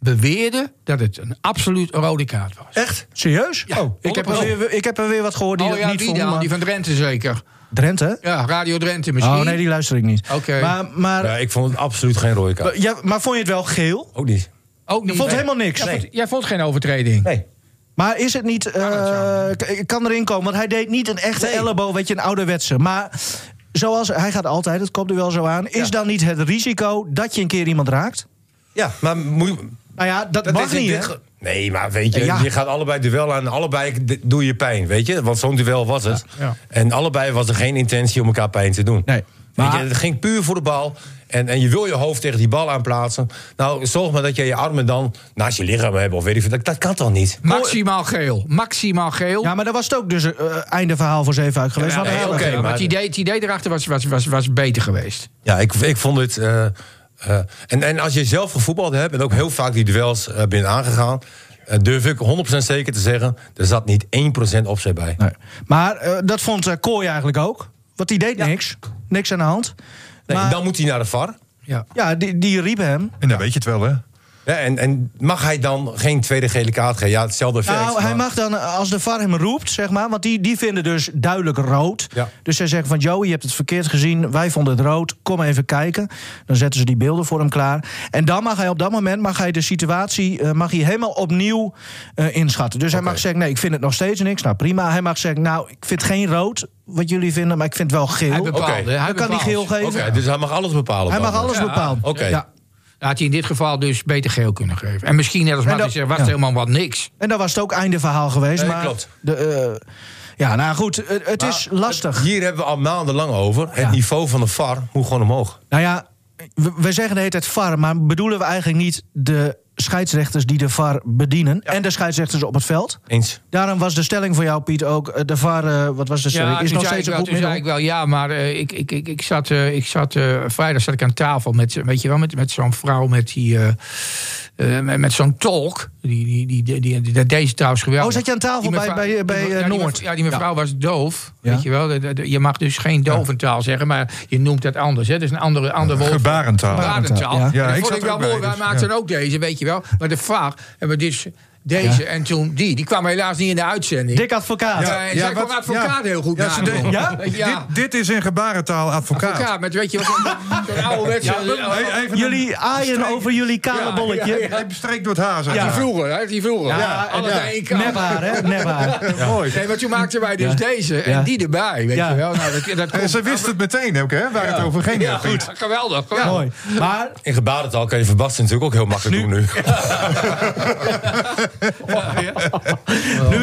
beweerde dat het een absoluut rode kaart was.
Echt?
Serieus?
Ja,
oh, ik, heb er
100%.
weer, ik heb er weer wat gehoord die
oh
dat
ja,
niet
die
vonden.
dan,
maar-
die van Drenthe zeker.
Drenthe?
Ja, Radio Drenthe misschien.
Oh nee, die luister ik niet.
Oké.
Maar, maar, eh,
Ja, ik vond het absoluut geen rode kaart.
ja, maar vond je het wel geel?
Ook niet.
Ook niet.
Je vond
Nee.
helemaal niks.
Jij vond- Jij vond geen overtreding.
Nee.
Maar is het niet... eh,
dat zou.
k- ik kan erin komen, want hij deed niet een echte
Nee.
elleboog, weet je, een ouderwetse. Maar zoals, hij gaat altijd, het komt er wel zo aan. Is dan niet het risico dat je een keer iemand raakt?
Ja, maar moet je...
Nou ja, dat,
Dat
mag
is in
niet,
dit
hè?
ge- Nee, maar weet je,
Ja.
je gaat allebei duel aan. Allebei d- doe je pijn, weet je? Want zo'n duel was het.
ja.
En allebei was er geen intentie om elkaar pijn te doen.
Nee,
Weet je,
maar-
het ging puur voor de bal. En, en je wil je hoofd tegen die bal aanplaatsen. Nou, zorg maar dat je je armen dan naast je lichaam hebt. Of weet ik veel. Dat, dat kan toch niet?
Maximaal geel. Maximaal geel.
Ja, maar dat was het ook dus eh, einde verhaal voor Zeefuik geweest.
Ja,
Wat een
nee,
hel.
oké,
oké,
maar
maar-
het idee, het idee erachter was, was, was, was beter geweest.
Ja, ik, ik vond het. eh, eh, en, en als je zelf gevoetbald hebt en ook heel vaak die duels eh, bent aangegaan. eh, eh, durf ik 100% zeker te zeggen, er zat niet 1% opzet bij.
Nee. Maar eh, dat vond eh, Kooi eigenlijk ook. Want die deed niks. Niks aan de hand.
Nee,
maar,
Dan moet hij naar de VAR.
Ja.
Ja, die, die riepen hem.
En dan weet je het wel, hè?
Ja, en, en mag hij dan geen tweede gele kaart geven? Ja, hetzelfde effect.
Nou, hij
maar-
mag dan, eh, als de VAR hem roept, zeg maar... want die, die vinden dus duidelijk rood.
Ja.
Dus zij zeggen van, Joey, je hebt het verkeerd gezien. Wij vonden het rood, kom even kijken. Dan zetten ze die beelden voor hem klaar. En dan mag hij op dat moment mag hij de situatie eh, mag hij helemaal opnieuw eh, inschatten. Dus hij mag zeggen, nee, ik vind het nog steeds niks. Nou, prima. Hij mag zeggen, nou, ik vind geen rood, wat jullie vinden... maar ik vind het wel
Hij
geel.
bepaalde.
Oké.
Dan kan
Hij
hij
bepaalt.
geel geven.
Oké, dus hij mag alles bepalen.
Hij
dan. dus.
mag alles
Ja.
bepalen.
Oké.
Ja. Had hij in dit geval dus beter geel kunnen geven. En misschien, net als
En
Martin
dat-
zegt, was
ja.
het helemaal wat niks.
En dan was het ook einde verhaal geweest.
Nee,
maar
klopt.
De, eh, ja, nou goed, eh, het,
Maar
is lastig.
Hier hebben we al maandenlang over. Het
Ja.
niveau van de VAR moet gewoon omhoog.
Nou ja, we, we zeggen de hele tijd VAR, maar bedoelen we eigenlijk niet de scheidsrechters die de VAR bedienen en de scheidsrechters op het veld?
Eens.
Daarom was de stelling voor jou, Piet, ook eh, de VAR, eh, wat was de stelling? is
toen
nog
zei
steeds
dus ik
een
wel-
goed
toen
middel.
zei ik wel ja, maar eh, ik, ik, ik, ik zat, eh, ik zat eh, vrijdag zat ik aan tafel met, weet je wel, met, met zo'n vrouw met die, eh, eh, met, met zo'n tolk. Die, die, die, die, die- die- deze trouwens geweldig.
Oh, zat je aan tafel
Die
bij-
mevrouw-
bij, eh,
die
bij,
me-
eh,
ja, die me-
Noord?
Ja, die mevrouw was doof,
Ja.
weet je wel. De- de- de- Je mag dus geen doventaal zeggen, maar je noemt dat anders. Hè. Dat is een andere, ander woord. voor-
Gebarentaal.
Barentaal.
Ja.
Ja,
Ja,
dat
ik
vond
zat
ik
er
wel
ook bij,
mooi. Wij
dus,
maakten
ja.
ook deze, weet je wel. Maar de VAR hebben we dus deze en toen die. Die kwam helaas niet in de uitzending.
Dik advocaat.
Ja, en zij kon advocaat heel goed
ja, ze
nadoen.
deed-
Ja?
Weet je, ja.
Dit, dit is in gebarentaal advocaat.
Advocaat, met weet je wat, zo'n- zo'n ouderwetse...
Ja,
Ja,
even
Jullie aaien over jullie kale
Ja,
bolletje.
een- Hij bestreekt door het haar, zeg
Die
maar.
vroeger, hè, die vroeger. Ja, allebei één kant.
Nep haar, hè? Nep
*laughs*
haar.
Mooi.
Nee, maar toen maakten wij dus deze en
Ja.
die erbij, weet
Ja.
je wel. Nou, dat, dat
En
komt-
Eh, ze wist het meteen ook, hè, waar het over ging.
Ja,
Piet.
goed. Geweldig, geweldig.
Mooi. Maar
In gebarentaal kan je Van Basten natuurlijk ook heel makkelijk doen nu.
nu,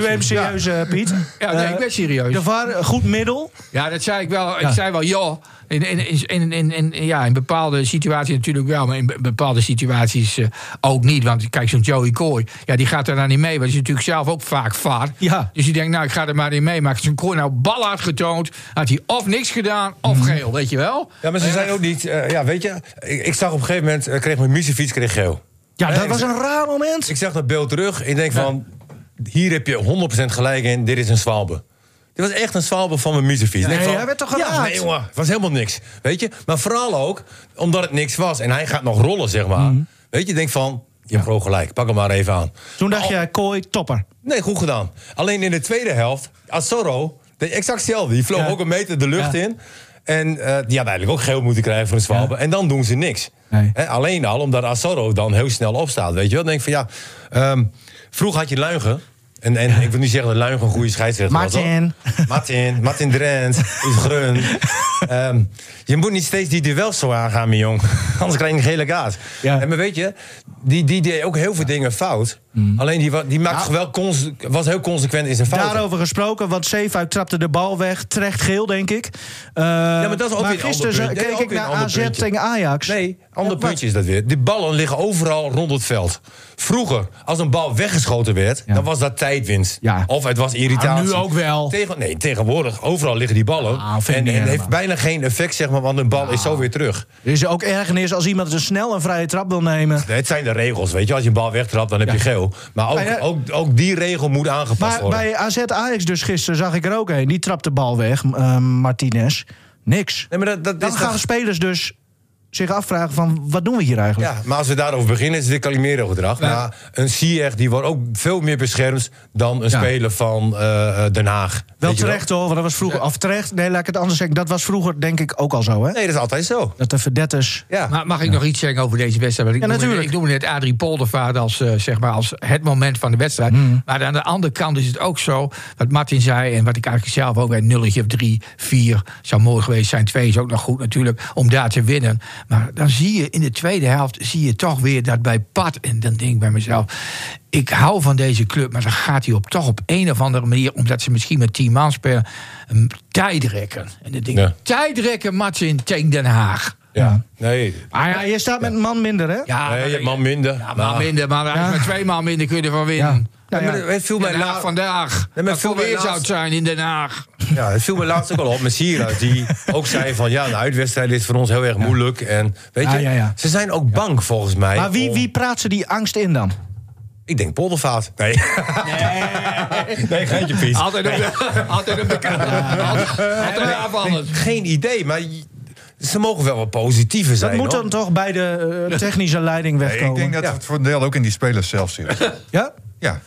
nu even serieus, eh, Piet.
Ja, nee,
Eh,
ik ben serieus.
De VAR, eh, goed middel.
Ja, dat zei ik wel. Ik zei wel, joh. In, in, in, in, in, in- ja, in bepaalde situaties natuurlijk wel, maar in be- bepaalde situaties eh, ook niet. Want kijk, zo'n Joey Kooi, ja, die gaat er dan niet mee. Want die is natuurlijk zelf ook vaak vaar.
Ja.
Dus die denkt, nou, ik ga er maar niet mee. Maar als zo'n Kooi nou bal had getoond, had hij of niks gedaan, of geel, weet je wel?
Ja, maar ze zijn ook niet... eh, ja, weet je, ik, ik zag op een gegeven moment... eh, kreeg mijn muziekfiets kreeg geel.
Ja, dat
Nee,
was een raar moment.
Ik zag dat beeld terug. Ik denk van, hier heb je 100% gelijk in. Dit is een zwalbe. Dit was echt een zwalbe van mijn muziekfiets.
Nee,
Ik denk van,
hij werd toch
Ja,
geraakt?
nee, jongen. Het was helemaal niks. Weet je? Maar vooral ook omdat het niks was. En hij gaat nog rollen, zeg maar.
Mhm.
Weet je, ik denk van... Je hebt gewoon gelijk. Pak hem maar even aan.
Toen
Oh.
dacht je, kooi, topper.
Nee, goed gedaan. Alleen in de tweede helft, Azorro, deed exact hetzelfde. Die vloog
Ja.
ook een meter de lucht
Ja.
in. En eh, die had eigenlijk ook geel moeten krijgen voor een zwalbe. En dan doen ze niks.
Nee.
Hè, alleen al omdat Azorro dan heel snel opstaat. Weet je wel? Dan denk ik van ja, ehm, vroeg had je Luigen. En, en ik wil niet zeggen dat Luigen een goede scheidsrechter
Martin. *laughs*
was. hoor. Martin. Martin Drent. Is Grun. Ehm, je moet niet steeds die duels zo aangaan, mijn jong. *laughs* Anders krijg je een gele kaart.
Ja.
En maar weet je, die, die deed ook heel veel dingen fout.
Mhm.
Alleen die, wa- die maakte wel cons- was heel consequent in zijn fouten.
Nou. Daarover gesproken, want Zeefuik trapte de bal weg. Terecht geel, denk ik. Eh,
maar dat is ook weer een ander
gisteren
punt.
keek
Nee, ook
ik
weer een
naar
ander
AZ
puntje.
tegen Ajax.
Nee, ander
Ja, wat?
puntje is dat weer. Die ballen liggen overal rond het veld. Vroeger, als een bal weggeschoten werd,
Ja.
dan was dat tijdwinst.
Ja.
Of het was irritatie.
Ah, nu ook wel.
Tegen, nee, tegenwoordig, overal liggen die ballen.
Ah, vind ik
en
niet
en heeft
helemaal. Nou.
bijna geen effect, zeg maar, want een bal is zo weer terug.
Er is ook ergernis als iemand een snel een vrije trap wil nemen.
Nee, het zijn de regels, weet je. Als je een bal wegtrapt, dan heb je geel. Maar ook,
Maar ja-
ook, ook die regel moet aangepast
Maar
worden.
bij AZ Ajax dus gisteren zag ik er ook een. Die trapte de bal weg, eh, Martinez. Niks.
Nee, maar dat, dat
Dan
is
Nou, gaan
toch-
spelers dus zich afvragen van wat doen we hier eigenlijk?
Ja, maar als we daarover beginnen, is het weer Calimero-gedrag. Maar een Ziyech, die wordt ook veel meer beschermd... dan een speler van eh, eh, Den Haag.
Wel
Weet je
terecht hoor, want dat was vroeger. Of terecht, nee, laat ik het anders zeggen. Dat was vroeger denk ik ook al zo, hè?
Nee, dat is altijd zo.
Dat de verdetters.
Ja.
Maar mag ik nog iets zeggen over deze wedstrijd? Want ik
Ja,
noemde-
natuurlijk.
ik noemde net Adrie Poldervaart als, eh, zeg maar als het moment van de wedstrijd.
Mhm.
Maar aan de andere kant is het ook zo, wat Martin zei... en wat ik eigenlijk zelf ook bij een nulletje of drie, vier... zou mooi geweest zijn, twee is ook nog goed natuurlijk, om daar te winnen. Maar dan zie je in de tweede helft, zie je toch weer dat bij Pat... en dan denk ik bij mezelf, ik hou van deze club... maar dan gaat hij op, toch op een of andere manier... omdat ze misschien met tien man spelen, een tijdrekken. En dan denk ik,
Ja.
tijdrekken, Martin, tegen Den Haag.
Ja. Nee,
Ah, ja, je staat met een man minder, hè?
Ja,
nee, je hebt man minder.
Ja, maar
Maar-
minder, maar als je met twee man minder kun je ervan winnen.
Nou
Nee,
ja.
maar het viel mij
Den Haag
laat-
vandaag.
maar
dat
veel
voor weer
laatst-
zou het zijn in Den Haag.
Ja, het viel me laatst ook al op met Sierra.
*laughs*
Die ook zei van ja, een uitwedstrijd is voor ons heel erg moeilijk. En weet je,
Ah, ja, ja.
ze zijn ook bang volgens mij.
Maar wie,
om-
wie praat ze die angst in dan?
Ik denk poldervaart. Nee. *laughs* Nee, geintje Piet.
Altijd op de, *laughs* altijd op de kant. Altijd, altijd
Nee,
aanvallend.
Geen idee, maar je- ze mogen wel wat positiever
Dat
zijn.
moet
hoor.
dan toch bij de eh, technische leiding wegkomen.
Ik denk dat
Ja.
het voor een deel ook in die spelers zelf
*laughs*
zit.
Ja?
Ja.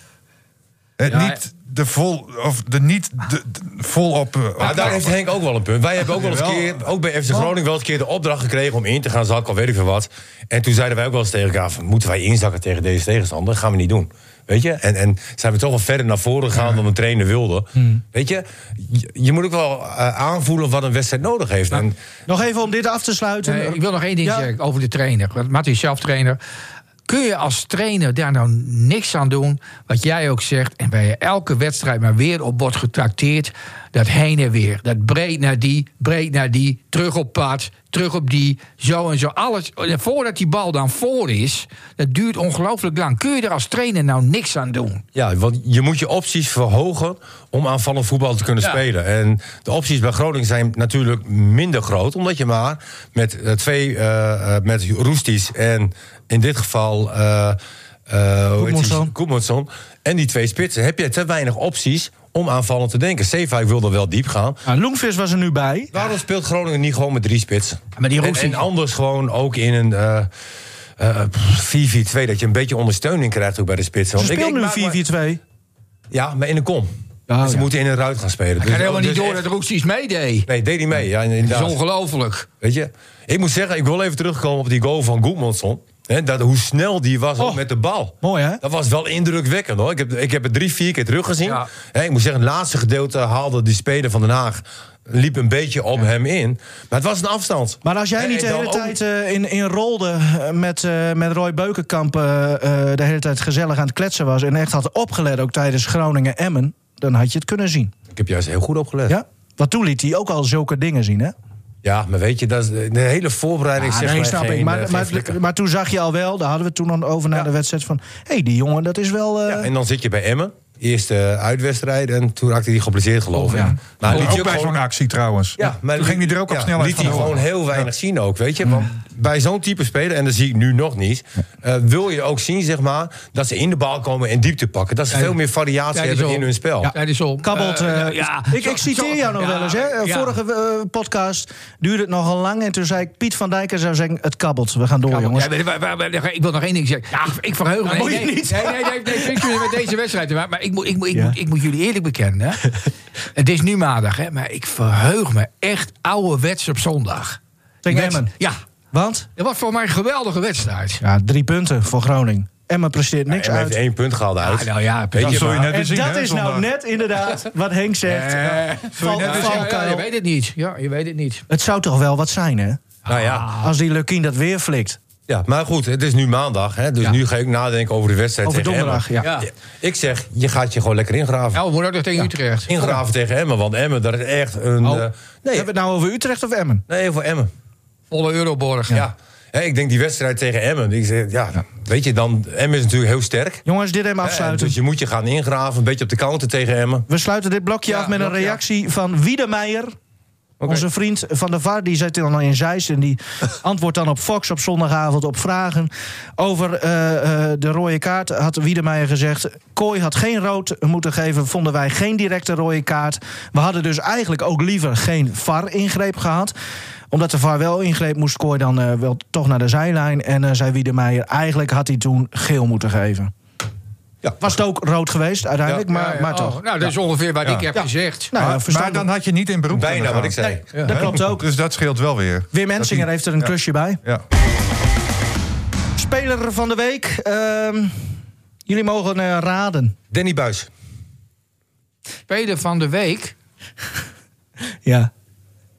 Eh,
Ja,
niet de vol, of de niet de, de- volop. eh,
Maar daar heeft Henk ook wel een punt. Wij hebben ook wel eens
Jawel.
keer, ook bij FC Groningen, wel eens keer de opdracht gekregen om in te gaan zakken of weet ik veel wat. En toen zeiden wij ook wel eens tegen elkaar: van, moeten wij inzakken tegen deze tegenstander? Dat gaan we niet doen. Weet je? En, en zijn we toch wel verder naar voren gegaan dan de trainer wilde. Weet je? je? je moet ook wel eh, aanvoelen wat een wedstrijd nodig heeft. En,
Nog even om dit af te sluiten.
Nee, ik wil nog één ding
Ja.
zeggen over de trainer. Want Matty is zelf trainer. Kun je als trainer daar nou niks aan doen? Wat jij ook zegt. En bij elke wedstrijd maar weer op wordt getrakteerd. Dat heen en weer. Dat breed naar die, breed naar die. Terug op pad, terug op die. Zo en zo. Alles. En voordat die bal dan voor is. Dat duurt ongelooflijk lang. Kun je er als trainer nou niks aan doen?
ja, want je moet je opties verhogen om aanvallend voetbal te kunnen
Ja.
spelen. En de opties bij Groningen zijn natuurlijk minder groot. Omdat je maar met eh, twee, eh, eh, met Roesties en in dit geval... eh, eh, hoe heet die?
Goedmundsson.
Goedmundsson. En die twee spitsen heb je te weinig opties om aanvallend te denken. Zeefuik wil er wel diep gaan.
Nou, Loengvis was er nu bij.
Waarom speelt Groningen niet gewoon met drie spitsen?
Maar die
En-
Roesties-
en, anders gewoon ook in een eh, eh, 4-4-2... dat je een beetje ondersteuning krijgt ook bij de spitsen.
Ze
Want ik-
speelt
ik maak me-
nu 4-4-2.
ja, maar in een kom. dus ze
Oh, ja.
moeten in een ruit gaan spelen.
Ik
Dus-
had helemaal niet
dus
door
echt-
dat Roesties meedeed.
Nee, deed hij mee. Ja,
Dat is
inderdaad.
ongelooflijk.
Weet je, ik moet zeggen, ik wil even terugkomen op die goal van Goedmanson. Hè, dat, hoe snel die was ook
Oh.
met de bal.
Mooi, hè?
Dat was wel indrukwekkend hoor. Ik heb, ik heb het drie, vier keer teruggezien.
Ja.
Hè, ik moet zeggen, het laatste gedeelte haalde die speler van Den Haag. Liep een beetje op hem in. Maar het was een afstand.
Maar als jij
En-
niet de
en dan
hele
ook-
tijd eh, in, in rolde eh, met, eh, met Roy Beukenkamp... eh, eh, de hele tijd gezellig aan het kletsen was... en echt had opgelet ook tijdens Groningen-Emmen... dan had je het kunnen zien.
Ik heb juist heel goed opgelet. Ja,
Ja? Want toen liet hij ook al zulke dingen zien, hè?
maar weet je, dat is de de hele voorbereiding
Ah,
zegt
nee,
mij
snap
geen,
ik.
eh,
Maar,
geen
maar,
flikker.
maar toen zag je al wel, daar hadden we het toen al over na de wedstrijd... van, hé, hey, die jongen, dat is wel... eh,
Ja, en dan zit je bij Emmen. Eerste uitwedstrijd. En toen raakte hij geblesseerd, geloof ik. Maar liet
ook,
je ook
bij
gewoon-
zo'n actie trouwens.
Ja, maar
Toen ging hij er ook op
ja,
snelheid
liet
van
hij gewoon
horen.
heel weinig zien ook, weet je. Want bij zo'n type speler, en dat zie ik nu nog niet... eh, wil je ook zien, zeg maar, dat ze in de bal komen en diepte pakken. Dat ze veel meer variatie
Tijdens
hebben
om.
in hun spel.
Ja, tijdens om.
Kabbelt.
Eh,
eh,
ja.
ik, ik citeer jou nog
Ja,
wel eens. Hè? Eh,
ja.
Vorige eh, podcast duurde het nogal lang. En toen zei ik, Piet van Dijk zou zeggen, het kabbelt. We gaan door,
Nou, Ja,
jongens.
maar- ja, maar- maar- maar- maar- ik wil nog één ding zeggen. Ik- ik verheug me.
moet
nee,
je
nee,
niet.
Nee, nee, nee, nee, vind ik jullie met deze wedstrijd. te maken, Maar ik moet, ik, moet, ik,
Ja.
moet, ik moet jullie eerlijk bekennen.
*laughs*
hè. Het is nu maandag, hè, maar ik verheug me echt ouderwets op zondag. Die
Tegen
wedst-
Emmen.
Ja,
Want?
dat was voor mij een geweldige wedstrijd.
Ja, drie punten voor Groningen. Emma presteert niks
En hij heeft
uit.
één punt gehaald uit.
Ah, nou ja,
Weet
Dat
je,
zul je
maar-
net weer
En
zien,
dat
hè,
is nou
zondag.
net
*laughs*
inderdaad wat Henk zegt. Val-
net
Ja, dus-
is-
ja, ja, je
valkuil.
weet het niet. Ja, je weet het niet.
Het zou toch wel wat zijn, hè?
nou ja,
Ah.
Als die Lukien dat weer flikt.
ja, maar goed, het is nu maandag. Hè, dus
Ja.
nu ga ik nadenken over de wedstrijd
Over
tegen
donderdag,
Emmen.
ja. Ja.
Ik zeg, je gaat je gewoon lekker ingraven.
Ja, we moeten ook nog tegen Utrecht.
Ingraven tegen Emmen, want Emmen, dat is echt een...
Oh.
eh, nee,
Hebben we het nou over Utrecht of Emmen?
nee, voor Emmen.
Volle Euroborg.
Ja. Hè, ik denk die wedstrijd tegen Emmen. Ik zeg, ja, Weet je, dan, Emmen is natuurlijk heel sterk.
Jongens, dit even
Ja,
afsluiten.
Dus je moet je gaan ingraven, een beetje op de counter tegen Emmen.
We sluiten dit blokje
Ja,
af met een
blokje af.
reactie van Wiedemeijer. Onze vriend van de VAR, die zit dan in Zeist... en
*laughs*
die antwoordt dan op Fox op zondagavond op vragen. Over eh, eh, de rode kaart had Wiedemeijer gezegd... Kooi had geen rood moeten geven, vonden wij geen directe rode kaart. We hadden dus eigenlijk ook liever geen VAR-ingreep gehad. Omdat de VAR wel ingreep, moest Kooi dan eh, wel toch naar de zijlijn. En eh, zei Wiedemeijer, eigenlijk had hij toen geel moeten geven.
Ja.
Was het ook rood geweest uiteindelijk, maar,
Ja, ja.
maar
Oh,
toch.
Nou, dat is ongeveer wat
Ja.
ik heb gezegd.
Nou, ja,
Maar, maar
verstandig.
dan had je niet in beroep
Bijna
kunnen
wat
gaan.
ik zei.
Dat klopt ook.
Dus dat scheelt wel weer.
Wim Ensinger heeft er een klusje bij.
Ja.
Speler van de week. ehm, jullie mogen eh, raden.
Danny Buis.
Speler van de week.
Ja.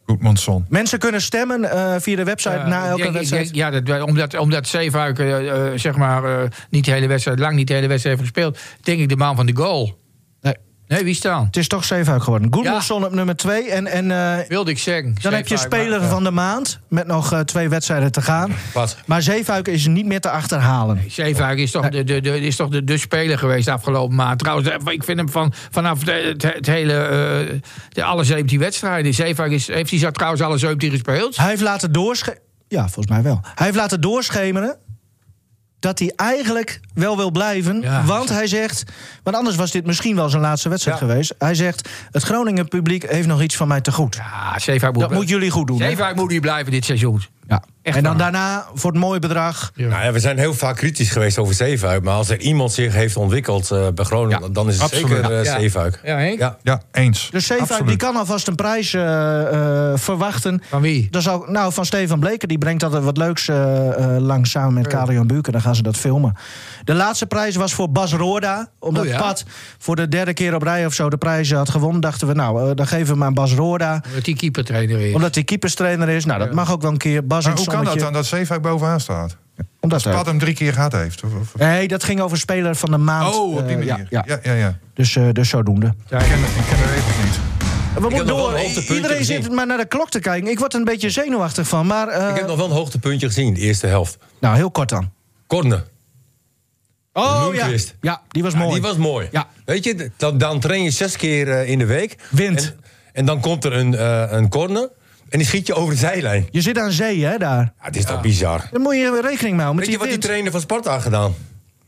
Goedmanson.
Mensen kunnen stemmen eh, via de website
Eh,
na
ik
elke
denk- ik
wedstrijd.
denk- ja, dat, omdat, omdat Zeefuik eh, eh, zeg maar, eh, niet de hele wedstrijd, lang niet de hele wedstrijd heeft gespeeld, denk ik de man van de goal.
Nee.
Nee, wie staan?
Het is toch Zeefuik geworden. Goedmanson op nummer 2. En, en eh,
Wilde ik zeggen.
dan heb je
Zeefuik, maar-
speler van de maand. Met nog eh, twee wedstrijden te gaan.
Wat?
Maar Zeefuik is niet meer te achterhalen.
Zeefuik is toch, de, de, de, is toch de, de speler geweest de afgelopen maand. Trouwens, eh, ik vind hem van, vanaf de- het, het hele. eh, de, alle 17 wedstrijden. Zeefuik is, heeft hij zo trouwens alle 17 gespeeld?
Hij heeft laten doorschemeren. Ja, volgens mij wel. Hij heeft laten doorschemeren. dat hij eigenlijk wel wil blijven.
Ja.
Want hij zegt, want anders was dit misschien wel zijn laatste wedstrijd
Ja.
geweest. Hij zegt, het Groningen publiek heeft nog iets van mij te goed.
Ja, Zeefuik Ah, moet,
Dat moet jullie goed doen. hè?
Zeefuik moet hier blijven dit seizoen.
Ja.
Echt
En dan
waar.
daarna voor het mooie bedrag.
Nou ja, we zijn heel vaak kritisch geweest over Zeefuik. Maar als er iemand zich heeft ontwikkeld eh, bij Groningen,
Ja,
dan is het
absoluut.
zeker eh,
Ja.
Zeefuik.
Ja, Henk?
Ja.
Ja, eens.
Dus Zeefuik
Absoluut.
die kan alvast een prijs eh, eh, verwachten.
Van wie?
Dan zou, nou, van Steven Bleken, die brengt altijd wat leuks eh, eh, langs samen met Karel-Jan Buurken. Dan gaan ze dat filmen. De laatste prijs was voor Bas Roorda. Omdat
Oh ja?
Pat voor de derde keer op rij of zo de prijs had gewonnen, dachten we, nou, eh, dan geven we maar aan Bas Roorda.
Omdat die keeper trainer is.
Omdat hij keeperstrainer is. Nou, dat mag ook wel een keer. Bas in
Maar
het
hoe kan dat
zonnetje.
dan dat Zeefuik bovenaan staat?
Omdat hij-
Pad hem drie keer gehad heeft. Of, of-
Nee, dat ging over speler van de maand.
oh, op die
Eh,
manier.
ja,
ja,
ja.
ja, ja.
Dus, eh, dus zodoende.
Ik, ken, ik ken de regels niet.
We moeten
heb nog wel
door.
een hoogtepuntje
Iedereen
gezien.
zit maar naar de klok te kijken. Ik word er een beetje zenuwachtig van. Maar, eh,
Ik heb nog wel een hoogtepuntje gezien, de eerste helft.
Nou, heel kort dan.
Korne.
Oh ja.
Bloemquist.
ja, die was
Ja,
mooi.
die was mooi.
Ja.
Weet je, dan, dan train je zes keer eh, in de week.
Wind.
En, en dan komt er een, eh, een corner en die schiet je over de zijlijn.
Je zit aan zee, hè, daar.
Ja, het is toch bizar.
Daar moet je rekening mee houden. Met
Weet je
die
wat die
wind.
trainer van Sparta had gedaan?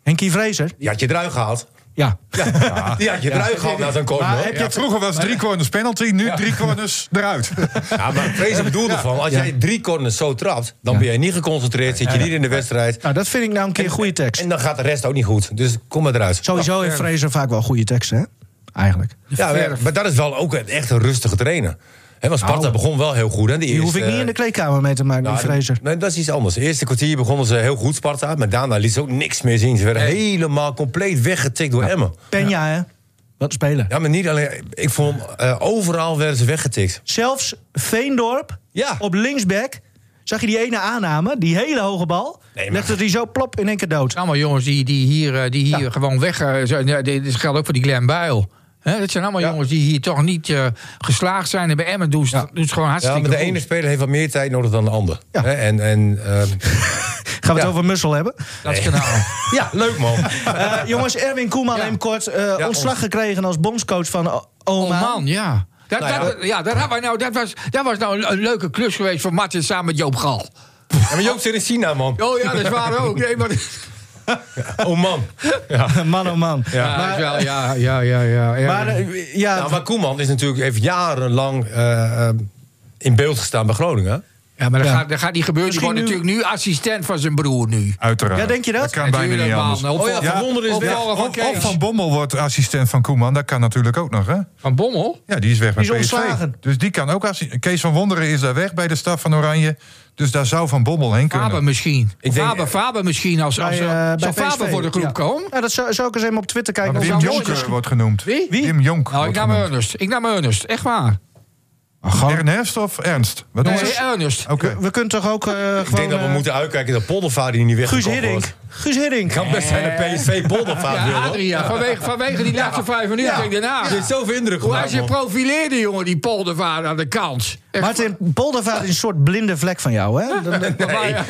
Henkie Vrezer.
Die had je eruit gehaald.
Ja.
Ja, *laughs* die had je eruit gehaald na zo'n corner.
Maar
Maar,
heb je
Ja, vroeger was drie corners penalty, nu drie
*laughs*
corners eruit.
ja, maar Vrezen bedoelde van, als jij drie corners zo trapt... dan ben je niet geconcentreerd, zit je niet in de wedstrijd...
Nou, dat vind ik nou een keer een goede tekst.
en Oh, dan gaat de rest ook niet goed. Dus kom maar eruit.
Sowieso heeft Vrezer vaak wel goede teksten, hè? Eigenlijk.
Ja, maar, maar dat is wel ook een- echt een rustige trainer. Hè, want Sparta begon wel heel goed. Hè, die
Nou. Die hoef ik
eerste-
niet in de kleedkamer mee te maken, die
eh, Nou,
Vrezer.
Nee, dat is iets anders. Het eerste kwartier begonnen ze heel goed Sparta. Maar daarna liet ze ook niks meer zien. Ze werden helemaal compleet weggetikt door Emmen.
Penja, hè? Wat spelen.
Ja, maar niet alleen... Ik vond, eh, overal werden ze weggetikt.
Zelfs Veendorp
Ja.
op linksback. Zag je die ene aanname, die hele hoge bal?
Nee, maar-
Legde die zo plop in één keer dood.
allemaal jongens die, die hier, eh, die hier gewoon weg... eh, zijn. Ja, dit dit geldt ook voor die Glenn Buil. Hè, dat zijn allemaal jongens die hier toch niet eh, geslaagd zijn. En bij Emmen doen ze doen ze gewoon
Ja,
hartstikke
maar de
goed.
ene speler heeft wat meer tijd nodig dan de ander.
Ja.
Hè, En, en, ehm,
Gaan we het
Ja.
over Mussel
*laughs*
hebben?
Dat kanaal.
ja, leuk man.
Eh, jongens, Erwin Koeman,
Ja.
hem kort. eh,
Ja,
ontslag
ons-
gekregen als bondscoach van O- Oman.
Oh man, ja. Dat,
Nou ja,
dat, ja, dat, hadden wij nou, dat, was, dat was nou een, een leuke klus geweest voor Martin samen met Joop Gal.
Ja, maar Joop zit in China, man.
Oh ja, dat is waar ook. Nee, maar,
Oh *laughs* man.
*laughs* man, oh man.
ja, dat is wel- ja, ja, ja. ja, ja.
Maar eh, ja,
Nou, maar Koeman is natuurlijk, heeft jarenlang eh, eh, in beeld gestaan bij Groningen.
Ja, maar dat,
Ja.
Gaat, dat gaat niet gebeuren. Die
Misschien
wordt natuurlijk nu assistent van zijn broer nu.
Uiteraard.
Ja, denk je dat?
kan bijna niet anders.
Oh
ja, Van Wonder is weg.
Of, of Van Bommel wordt assistent van Koeman, dat kan natuurlijk ook nog, hè?
Van Bommel?
Ja, die is weg bij
Die is
PSV.
ontslagen.
Dus die kan ook assistent. Kees van Wonderen is daar weg bij de staf van Oranje. Dus daar zou Van Bommel heen kunnen.
Faber misschien.
Ik denk-
Faber, Faber misschien. Als, als,
bij, eh, bij
zou Faber
PSV.
voor de groep
Ja.
komen?
Ja, dat zou, zou ik eens even op Twitter
Maar
kijken. of
Wim
zou-
Jonker wordt genoemd.
Wie?
Wim Jonker
Nou, ik
wordt
nam
genoemd.
Ernest. Ik nam Ernest. Echt waar.
Ernest of Ernst? Wat is
Nee,
het?
Ernest.
Oké.
We, we kunnen toch ook eh, gewoon...
Ik denk dat we
eh,
moeten uitkijken dat Poldervaar die niet
Guus
weggekocht
Hiddink.
wordt.
Guus Hiddink.
Kan best zijn dat *laughs* PSV Poldervaar
Ja,
wil. hoor.
Adria. Vanwege, vanwege die laatste vijf minuten. Ik denk, daarna.
Je hebt zoveel indruk
Hoe hij
gemaakt,
zich
man.
profileerde, jongen, die poldervaart aan de kant. Echt
Martin, Poldervaart is een soort blinde vlek van jou,
*laughs*
hè? Dan- eh, dan-
waar,
Nee.
ja.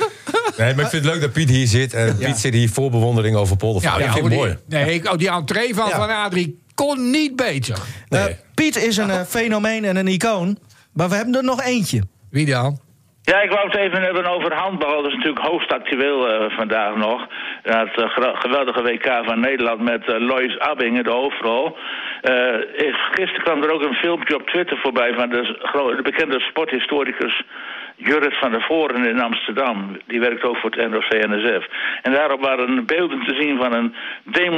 Nee, maar ik vind het leuk dat Piet hier zit. En Piet zit hier vol bewondering over Poldervaart.
Ja,
ik vind
die,
het mooi.
Nee, ik, oh, die entree van,
Ja.
van Adrie kon niet beter.
Nee.
Eh, Piet is een eh, fenomeen en een icoon. Maar we hebben er nog eentje.
Wie dan?
Ja, ik wou het even hebben over handbal. Dat is natuurlijk hoogst actueel eh, vandaag nog. Ja, het eh, gra- geweldige WK van Nederland met eh, Lois Abbing in de hoofdrol. Eh, is- gisteren kwam er ook een filmpje op Twitter voorbij van de, s- gro- de bekende sporthistoricus Jurrit van der Voren in Amsterdam. Die werkt ook voor het NOC-NSF. En daarop waren beelden te zien van een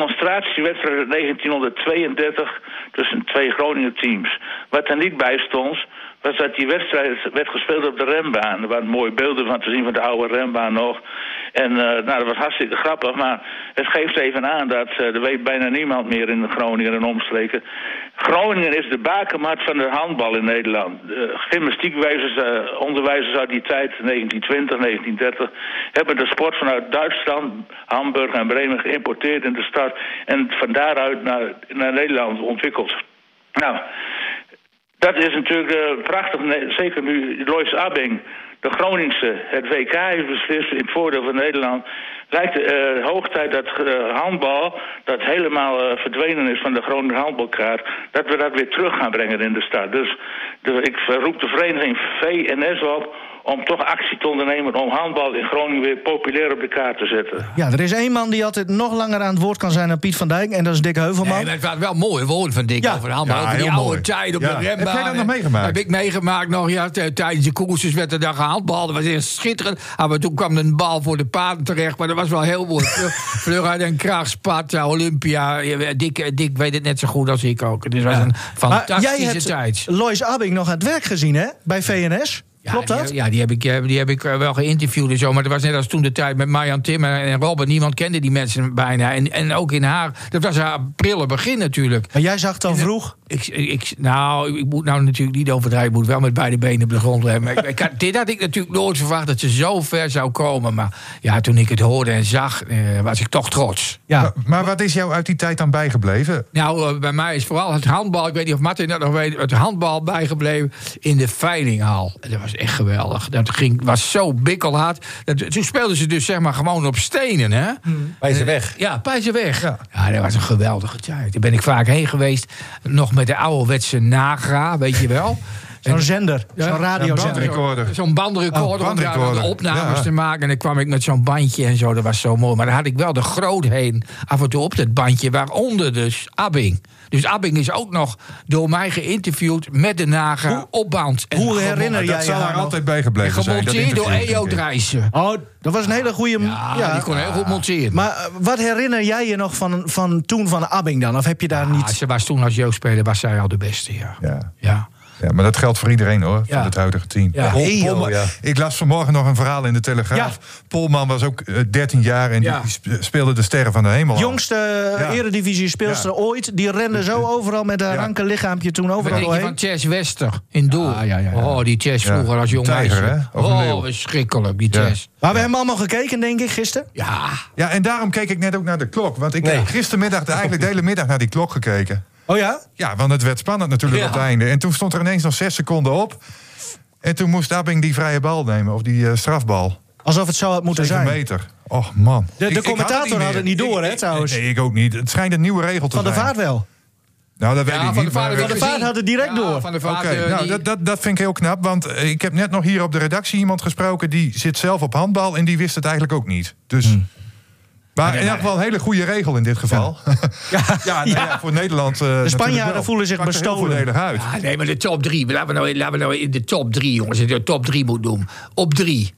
demonstratiewedstrijd uit 1932 tussen twee Groningen teams. Wat er niet bij stond, was dat die wedstrijd werd gespeeld op de rembaan. Er waren mooie beelden van te zien van de oude rembaan nog. En eh, nou, dat was hartstikke grappig, maar het geeft even aan dat eh, er weet bijna niemand meer in Groningen en omstreken. Groningen is de bakermat van de handbal in Nederland. De gymnastiekwijzers, eh, onderwijzers uit die tijd, 1920, 1930, hebben de sport vanuit Duitsland, Hamburg en Bremen geïmporteerd in de stad en van daaruit naar, naar Nederland ontwikkeld. Nou, dat is natuurlijk eh, prachtig, nee, zeker nu Lois Abing, de Groningse, het WK heeft beslist in het voordeel van Nederland. Lijkt eh hoog tijd dat eh, handbal, dat helemaal eh, verdwenen is van de Groninger handbalkaart, dat we dat weer terug gaan brengen in de stad. Dus de- ik roep de vereniging VNS op om toch actie te ondernemen om handbal in Groningen weer populair op de kaart te zetten.
Ja, er is één man die altijd nog langer aan het woord kan zijn dan Piet van Dijk. En dat is Dick Heuvelman.
Nee, maar het was wel mooi woord van Dick
Ja.
over de handbal.
Ja,
over die
heel
oude
mooi.
tijd op
Ja.
de
Heb jij
rembaan.
dat nog
En-
meegemaakt?
Heb ik meegemaakt nog. Ja, t- tijdens de koersjes werd er dan gehandbald. Dat was echt schitterend. Ah, maar toen kwam een bal voor de paarden terecht. Maar dat was wel heel mooi.
*laughs*
Fleur- Fleur uit en Kraag, Sparta, Olympia. Ja, Dick, eh, Dick weet het net zo goed als ik ook. Dit was een
maar
fantastische
jij hebt
tijd.
Lois Abbing nog aan het werk gezien, hè? Bij VNS.
Ja,
Klopt dat?
Die, ja, die heb, ik, eh, die heb ik eh, wel geïnterviewd en zo. Maar dat was net als toen de tijd met Marjan Tim en en Robben. Niemand kende die mensen bijna. En, en ook in haar. Dat was haar prille begin natuurlijk.
Maar jij zag het al vroeg.
Ik, ik, nou, ik moet nou natuurlijk niet overdrijven. Ik moet wel met beide benen op de grond hebben. Maar ik, ik had, dit had ik natuurlijk nooit verwacht dat ze zo ver zou komen. Maar ja, toen ik het hoorde en zag, eh, was ik toch trots.
Ja.
Maar, maar wat is jou uit die tijd dan bijgebleven?
Nou, eh, bij mij is vooral het handbal. Ik weet niet of Martin dat nog weet. Het handbal bijgebleven in de veilinghal. En Dat was echt geweldig. Dat ging, was zo bikkelhard. Dat, toen speelden ze dus zeg maar gewoon op stenen, hè?
Bij ze weg.
Ja, Pijzenweg. Ja.
Ja.
ja, dat was een geweldige tijd. Daar ben ik vaak heen geweest. Nog met de ouderwetse Nagra, weet je wel. En-
Zo'n zender.
Ja,
Zo'n radiozender.
bandrecord. bandrecorder.
Zo'n- Zo'n bandrecorder,
Oh,
om daar
bandrecorder.
dan opnames
Ja.
te maken. En dan kwam ik met zo'n bandje en zo. Dat was zo mooi. Maar daar had ik wel de groot heen af en toe op dat bandje. Waaronder dus Abbing. Dus Abbing is ook nog door mij geïnterviewd met de nager opbouwend. En
Hoe
gemo-
herinner jij
eh, Dat
je
zal
haar
haar
nog?
altijd bijgebleven zijn. dat
Gemonteerd door E
interview,
EO
denk ik.
Drijssen.
Oh, dat was een hele goede...
Ja, die kon heel goed monteren.
Maar eh, wat herinner jij je nog van, van toen van Abbing dan? Of heb je daar
Ah,
niet...
ze was toen als jeugdspeler was zij al de beste, ja.
Ja.
Ja,
ja, maar dat geldt voor iedereen hoor,
Ja.
van het huidige team.
Ja.
Paul-
Hey,
Paul-
joh, ja.
Ik las vanmorgen nog een verhaal in de Telegraaf. Polman was ook eh, 13 jaar en die-
Ja.
die sp- speelde de sterren van de hemel. aan.
Jongste eh,
Ja.
eredivisie speelster
Ja.
ooit. Die rende zo overal met haar
Ja.
ranke lichaampje toen
Wat
overal
denk je
doorheen.
van Chess Wester in Doel? Oh, die Chess
Ja.
vroeger als jong
Tijger,
meisje.
hè? Of een
Oh,
leeuw.
verschrikkelijk, die
Ja.
Chess.
Maar we hebben allemaal gekeken, denk ik, gisteren.
Ja,
Ja, en daarom keek ik net ook naar de klok. Want ik heb gistermiddag de- eigenlijk de hele middag naar die klok gekeken.
Oh ja?
Ja, want het werd spannend natuurlijk
Ja.
op het einde. En toen stond er ineens nog zes seconden op. En toen moest Abing die vrije bal nemen, of die eh, strafbal.
Alsof het zo had moeten
Zeven
zijn.
meter. Och man.
De,
Ik-
de
ik
commentator had het,
meer.
niet door, hè, trouwens.
Nee, ik ook niet. Het schijnt een nieuwe regel te
van de
zijn.
vaart wel.
Nou, dat weet
Ja,
ik
van
niet.
de vader
maar-
Van de Vaart had het direct door.
Van de
Oké,
vader. eh,
nou,
die-
dat, dat, dat vind ik heel knap. Want eh, ik heb net nog hier op de redactie iemand gesproken... die zit zelf op handbal en die wist het eigenlijk ook niet. Dus... Maar in elk geval een hele goede regel in dit geval. *laughs* Ja, nou ja, voor Nederland. eh, natuurlijk
Spanjaarden
wel.
voelen zich
Pakt er heel
bestolen.
voordelig uit.
Ah, nee, maar de top drie. Laten we nou, laten we nou in de top drie, jongens. De top drie moet doen. Op drie,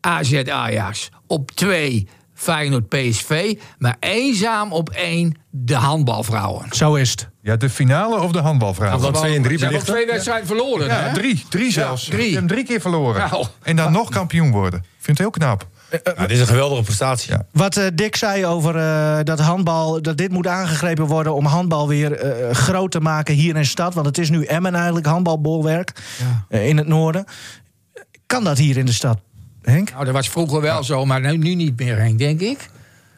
AZ Ajax. Op twee, Feyenoord PSV. Maar eenzaam op één, de handbalvrouwen.
Zo is het.
Ja, de finale of de handbalvraag?
Want twee en drie
Ze hebben ook
belichten.
twee wedstrijden verloren,
Ja,
hè?
drie. Drie zelfs.
drie.
Ik heb hem drie keer verloren.
Nou.
En dan nog kampioen worden. Ik vind het heel knap.
Ja, dit is een geweldige prestatie.
Ja.
Wat eh, Dick zei over eh, dat handbal, dat dit moet aangegrepen worden om handbal weer eh, groot te maken hier in de stad. Want het is nu Emmen eigenlijk, handbalbolwerk eh, in het noorden. Kan dat hier in de stad, Henk?
Nou, dat was vroeger wel zo, maar nu, nu niet meer, Henk, denk ik.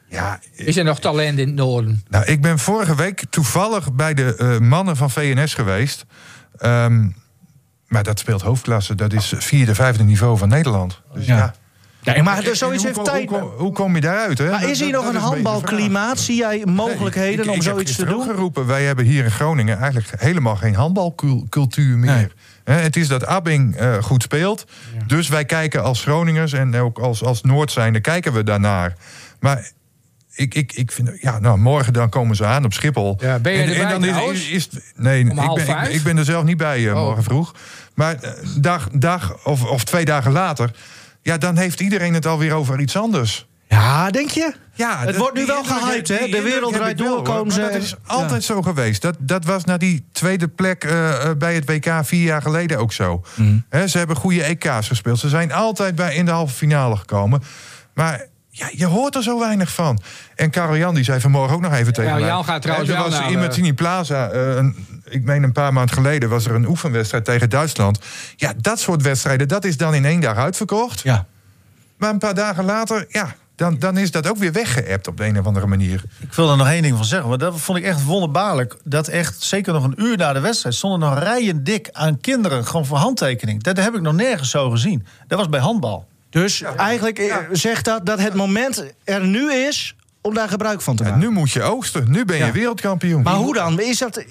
Ja,
Is er nog talent in het noorden?
Nou, ik ben vorige week toevallig bij de eh, mannen van VNS geweest. Ehm, maar dat speelt hoofdklasse. Dat is vierde, vijfde niveau van Nederland. Dus ja.
Nee, maar
En-
dus
en
zoiets
hoe
heeft
kom-
tijd.
Hoe, kom- hoe kom je daaruit? Hè?
Maar
Dat-
is hier
dat-
nog een
dat is beetje de
handbalklimaat?
vraag.
Zie jij
Nee,
mogelijkheden
ik-
om
ik heb
zoiets te
gisteren ook
doen?
geroepen, wij hebben hier in Groningen eigenlijk helemaal geen handbalcultuur meer. Hè, het is dat Abbing eh, goed speelt. Dus wij kijken als Groningers en ook als, als Noord zijnde kijken we daarnaar. Maar ik, ik, ik vind, ja, nou, morgen dan komen ze aan op Schiphol.
Ja, ben je
en,
erbij
en dan
trouwens?
is, is, is- nee,
Om
ik
half
ben, ik,
vijf?
ik ben er zelf niet bij eh,
Oh.
morgen vroeg. Maar eh, dag, dag of, of twee dagen later, ja, dan heeft iedereen het alweer over iets anders.
Ja, denk je?
Ja,
het
dat-
wordt nu
die
wel
indruk
gehyped,
heb-
hè?
die
De
indruk
wereld
heb
draait
ik wel,
door,
hoor.
komen ze.
Maar Dat is
en-
altijd zo geweest. Dat, dat was na die tweede plek eh, eh, bij het WK vier jaar geleden ook zo.
Mhm.
Hè, ze hebben goede EK's gespeeld. Ze zijn altijd bij, in de halve finale gekomen. Maar ja, je hoort er zo weinig van. En Karel Jan die zei vanmorgen ook nog even tegen
Karel
mij.
Jan gaat trouwens
Hè, Er
wel
was
naar
in
de-
Martini Plaza, eh, een, ik meen een paar maanden geleden... was er een oefenwedstrijd tegen Duitsland. Ja, dat soort wedstrijden, dat is dan in één dag uitverkocht.
Ja.
Maar een paar dagen later, ja, dan, dan is dat ook weer weggeëpt op de een of andere manier.
Ik wil er nog één ding van zeggen, want dat vond ik echt wonderbaarlijk. Dat echt, zeker nog een uur na de wedstrijd, stonden nog rijen dik aan kinderen gewoon voor handtekening. Dat heb ik nog nergens zo gezien. Dat was bij handbal.
Dus eigenlijk eh, zegt dat dat het moment er nu is om daar gebruik van te
Ja,
maken.
nu moet je oogsten, nu ben je
Ja.
wereldkampioen.
Maar hoe dan? Is dat,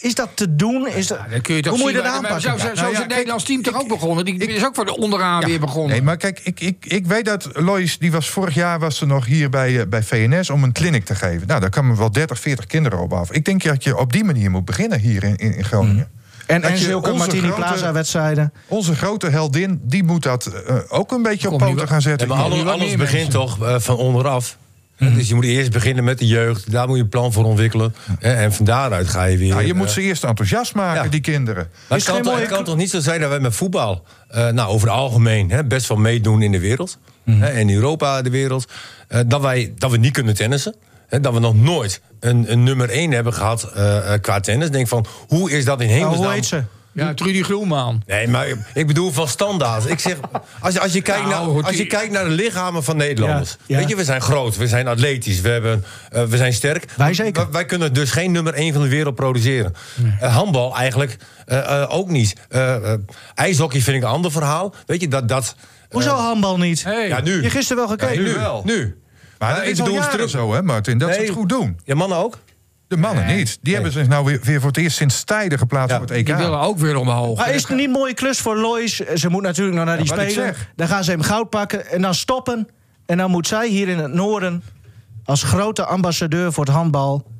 is dat te doen? Is dat,
Dan kun je toch
hoe moet je
zien
dat
waar- maar
aanpakken?
Zo, zo, zo
Nou ja,
is het
kijk,
Nederlands team toch ook begonnen. Die is ook van de onderaan weer begonnen.
Nee, maar kijk, ik, ik, ik weet dat Lois, die was vorig jaar was ze nog hier bij, eh, bij VNS om een clinic te geven. Nou, daar kwamen wel 30, 40 kinderen op af. Ik denk dat je op die manier moet beginnen hier in, in, in Groningen.
Mm.
en
Dat
en
je
zulke
onze
Martini
grote-
Plaza-wedstrijden.
Onze grote heldin, die moet dat eh, ook een beetje op
Komt nu
poten
wel-
gaan zetten.
maar
hier.
alles,
wat
alles
meer
begint toch eh, van onderaf.
Mhm.
Dus je moet eerst beginnen met de jeugd. Daar moet je een plan voor ontwikkelen. hè, En van daaruit ga je weer...
Nou,
Ja, je
eh,
moet ze eerst enthousiast maken,
ja.
die kinderen.
Maar
Is het
het kan,
geen
toch,
mooie
het kan
kl-
toch niet zo zijn dat wij met voetbal... eh, nou, over het algemeen hè, best wel meedoen in de wereld.
Mhm.
Hè, in Europa, de wereld. eh, dat, wij, dat we niet kunnen tennissen. Hè, dat we nog nooit een, een nummer 1 hebben gehad eh, eh, qua tennis. Denk van, hoe is dat in
Nou,
hemelsnaam?
hoe heet ze?
Ja, Trudy Groenman.
Nee, maar ik bedoel van standaard. Ik zeg, als, je- als, je, kijkt
Nou,
naar, als je
die-
kijkt naar de lichamen van Nederlanders.
Ja, ja.
Weet je, we zijn groot, we zijn atletisch, we, hebben, eh, we zijn sterk.
Wij zeker.
Wij, wij kunnen dus geen nummer 1 van de wereld produceren. Eh, handbal eigenlijk eh, eh, ook niet. Eh, eh, ijshockey vind ik een ander verhaal. Weet je, dat... dat
Hoezo handbal niet?
Hey.
ja, nu.
Je gisteren wel gekeken.
Ja, nu,
Nu wel.
nu.
Maar
Ja,
dat
ik
is al
bedoel,
jaren
terug-
zo, hè, Martin, dat ze
Nee.
het goed doen.
Ja, mannen ook?
De mannen niet. Die hebben zich nou weer, weer voor het eerst sinds tijden geplaatst
Ja,
voor het EK.
Die willen ook weer omhoog.
Maar is het niet een mooie klus voor Lois? Ze moet natuurlijk nog naar die
Ja, wat ik
spelen.
zeg.
Dan gaan ze hem goud pakken en dan stoppen. En dan moet zij hier in het noorden als grote ambassadeur voor het handbal.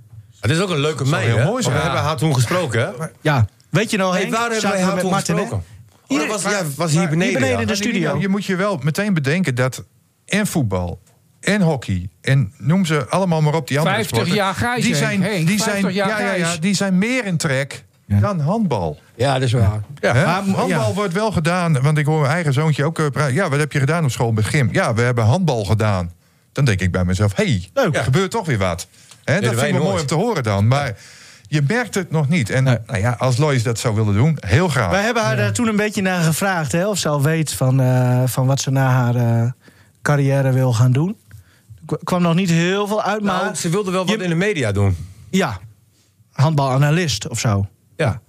Het is ook een leuke meid,
heel
hè?
mooi zijn.
We hebben haar toen gesproken, hè?
Ja, weet je nou,
Hey,
Henk,
waar hebben
zaten we
wij haar
met
toen
Martin, hè?
gesproken?
Hier-
Oh, dat was, ja, was hier beneden,
hier beneden
ja. nou
in de
Maar die-
studio.
nou, Je moet je wel meteen bedenken dat en voetbal en hockey en noem ze allemaal maar op die andere
50
sporten,
jaar grijs,
Die
Henk.
zijn,
Henk,
die
50
zijn,
jaar
ja, ja, ja,
grijs.
die zijn meer in trek dan handbal.
Ja, dat is waar.
Hè?
maar- ja.
handbal wordt wel gedaan, want ik hoor mijn eigen zoontje ook eh, praten. Ja, wat heb je gedaan op school met gym? Ja, we hebben handbal gedaan. Dan denk ik bij mezelf, hé, hey,
Leuk.
er gebeurt toch weer wat. Hè,
Deden
dat vind ik
wij
wel mooi
nooit.
om te horen dan. Maar je merkt het nog niet. En nou ja, als Lois dat zou willen doen, heel graag.
Wij hebben haar daar toen een beetje naar gevraagd, hè, of ze al weet van, eh, van wat ze na haar eh, carrière wil gaan doen. Er kwa- kwam nog niet heel veel uit,
Nou,
maar
ze wilde wel wat
je-
in de media doen.
ja, handbalanalist of zo.
Ja.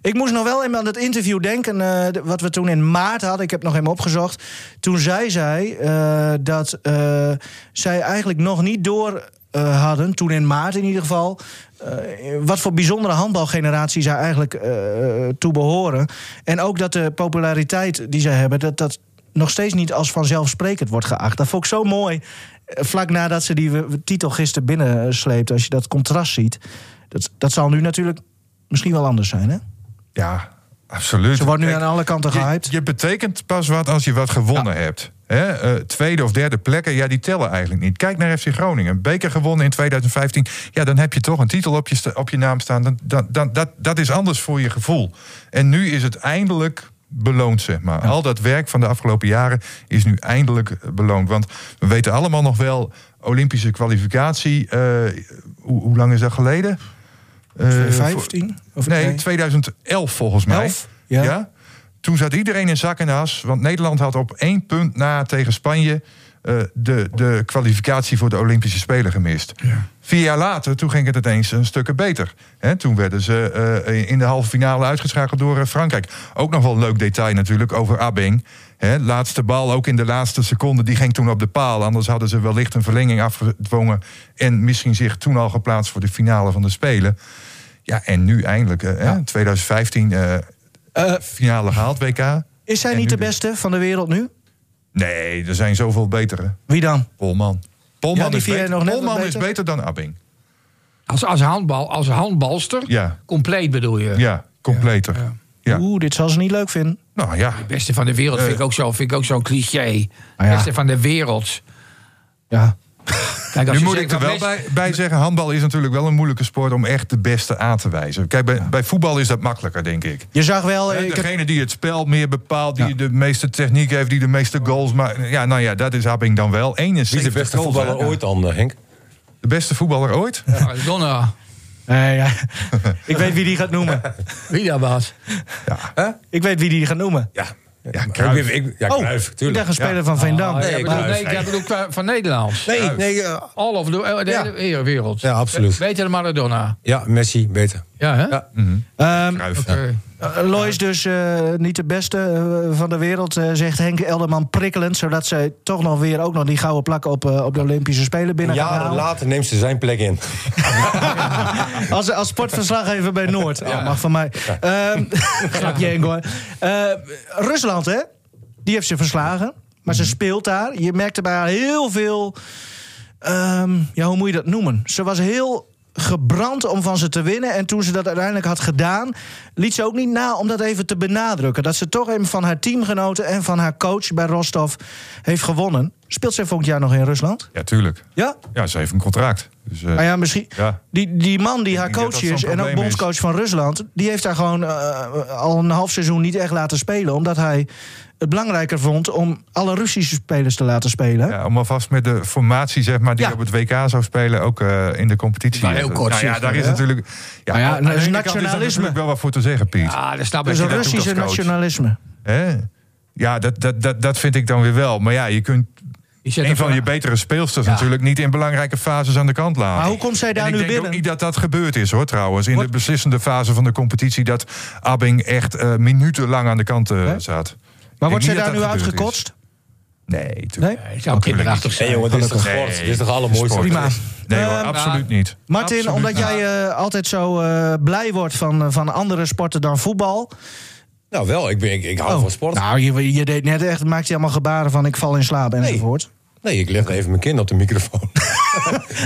Ik moest nog wel even aan dat interview denken, eh, d- wat we toen in maart hadden. Ik heb nog even opgezocht. Toen zij zei eh, dat eh, zij eigenlijk nog niet door eh, hadden, toen in maart in ieder geval, eh, wat voor bijzondere handbalgeneratie zij eigenlijk eh, toe behoren. En ook dat de populariteit die zij hebben, dat dat nog steeds niet als vanzelfsprekend wordt geacht. Dat vond ik zo mooi, eh, vlak nadat ze die eh, titel gisteren binnensleept, als je dat contrast ziet. Dat, dat zal nu natuurlijk misschien wel anders zijn, hè?
Ja, absoluut.
Ze wordt nu
Kijk,
aan alle kanten gehyped.
Je, je betekent pas wat als je wat gewonnen hebt. Hè? eh, tweede of derde plekken, ja, die tellen eigenlijk niet. Kijk naar FC Groningen. Beker gewonnen in 2015. Ja, dan heb je toch een titel op je, sta- op je naam staan. Dan, dan, dan, dat, dat is anders voor je gevoel. En nu is het eindelijk beloond, zeg maar. Al dat werk van de afgelopen jaren is nu eindelijk eh, beloond. Want we weten allemaal nog wel... Olympische kwalificatie, eh, hoe, hoe lang is dat geleden? Eh, voor-
15? Of
nee, 2011 volgens mij.
11? Ja.
Toen zat iedereen in zak en as. Want Nederland had op één punt na tegen Spanje... eh, de, de kwalificatie voor de Olympische Spelen gemist. Vier jaar later, toen ging het ineens een stukken beter. Hè, toen werden ze eh, in de halve finale uitgeschakeld door eh, Frankrijk. Ook nog wel een leuk detail natuurlijk over Abing. Hè, laatste bal, ook in de laatste seconde, die ging toen op de paal. Anders hadden ze wellicht een verlenging afgedwongen... en misschien zich toen al geplaatst voor de finale van de Spelen. Ja, en nu eindelijk, eh, hè, 2015, eh, finale gehaald, WK.
Is zij
En
niet
nu
de beste van de wereld nu?
Nee, er zijn zoveel betere.
Wie dan?
Polman.
Ja,
Polman,
die
is,
vind jij
beter.
nog net wat
Polman is
beter?
beter dan Abing.
Als, als, handbal, als handbalster,
Ja.
compleet bedoel je.
Ja, completer. Ja,
Oeh, dit zal ze niet leuk vinden.
nou ja.
Beste van de wereld vind ik ook zo- vind ik ook zo'n cliché.
Ah, ja.
Beste van de wereld.
Ja.
Kijk, als je
Nu moet
zegt
ik er
dat
wel
best-
bij, bij zeggen, handbal is natuurlijk wel een moeilijke sport om echt de beste aan te wijzen. Kijk, bij, bij voetbal is dat makkelijker, denk ik.
Je zag wel...
Hè,
eh, Ik heb-
Degene die het spel meer bepaalt, die de meeste techniek heeft, die de meeste goals maakt. Ja, nou ja, dat is Abing dan wel.
Wie
71
is de beste
goals, hè?
voetballer ooit dan, eh, Henk?
De beste voetballer ooit?
Oh, Maradona.
Nee, ja. *laughs* ik weet wie die gaat noemen.
Wie dat was?
Ik weet wie die gaat noemen.
Ja,
Ja, nou,
ik,
Cruijff.
ik- ik- ja Cruijff,
ik
tuurlijk.
dacht een speler van
Ah,
Veendam.
nee,
Nee,
Oh, ik
ik
bedoel,
luister.
nee, ik bedoel qua- van Nederlands.
Nee, nee, eh,
All of the, eh, de
Ja.
hele wereld.
Ja, absoluut.
Beter dan Maradona.
ja, Messi, beter.
Ja, hè?
Ja.
Ehm,
Cruijff.
Oké.
Eh, Lois dus eh, niet de beste eh, van de wereld, eh, zegt Henk Elderman prikkelend. Zodat zij toch nog weer ook nog die gouden plak op, eh, op de Olympische Spelen binnen gaan
Jaren
halen.
later neemt ze zijn plek in.
Als, als sportverslaggever bij Noord. Oh, mag van mij. Ehm, Grapje Henk hoor. Eh, Rusland hè, die heeft ze verslagen. Maar ze speelt daar. Je merkte bij haar heel veel... ehm, ja, hoe moet je dat noemen? Ze was heel gebrand om van ze te winnen. En toen ze dat uiteindelijk had gedaan... liet ze ook niet na om dat even te benadrukken. Dat ze toch even van haar teamgenoten en van haar coach bij Rostov heeft gewonnen. Speelt zij volgend jaar nog in Rusland?
Ja, tuurlijk.
Ja?
Ja, ze heeft een contract. Dus, eh,
Nou ja, misschien.
Ja.
Die, die man die haar
denk dat
coach
dat
is
zo'n
en ook
probleem
bondscoach van Rusland, die heeft daar gewoon eh, al een half seizoen niet echt laten spelen. Omdat hij het belangrijker vond om alle Russische spelers te laten spelen. Dus
Ja, om alvast met de formatie, zeg maar, die
Ja.
op het WK zou spelen, ook eh, in de competitie.
Maar heel kort
nou ja,
zicht,
daar
hè?
is natuurlijk. Ja,
Nou ja,
aan de
dat is
ene kant Is daar
nationalisme.
natuurlijk wel wat voor te zeggen, Piet.
Ah, daar snap
dus
ik.
een
dat doet
Russische
als coach.
nationalisme.
Hè? Ja, dat, dat, dat, dat vind ik dan weer wel. Maar ja, je kunt
Je zet
een
hem
van
voor-
je betere speelsters natuurlijk niet in belangrijke fases aan de kant laten.
Maar hoe komt zij daar
En ik
nu
denk
binnen?
ook niet dat dat gebeurd is, hoor, trouwens. In
Wordt-
de beslissende fase van de competitie... dat Abing echt eh, minutenlang aan de kant eh,
Hè?
zat.
Maar
Ik
wordt zij
denk
daar
niet
nu
dat dat gebeurd is.
uitgekotst?
Nee, tuurlijk.
Nee?
Hij zou kinderachtig
Nee,
zijn.
jongen, dit is toch
Nee.
sport? Dit is toch allermooiste?
Sport.
Prima.
Nee hoor,
Ehm,
absoluut niet.
Martin,
Absoluut
omdat
niet.
jij eh, altijd zo eh, blij wordt van, eh, van andere sporten dan voetbal.
Nou wel, ik, ben, ik, ik hou van sport.
Nou, je, je deed net echt, maakte je allemaal gebaren van ik val in slaap enzovoort.
Nee, ik leg even mijn kind op de microfoon.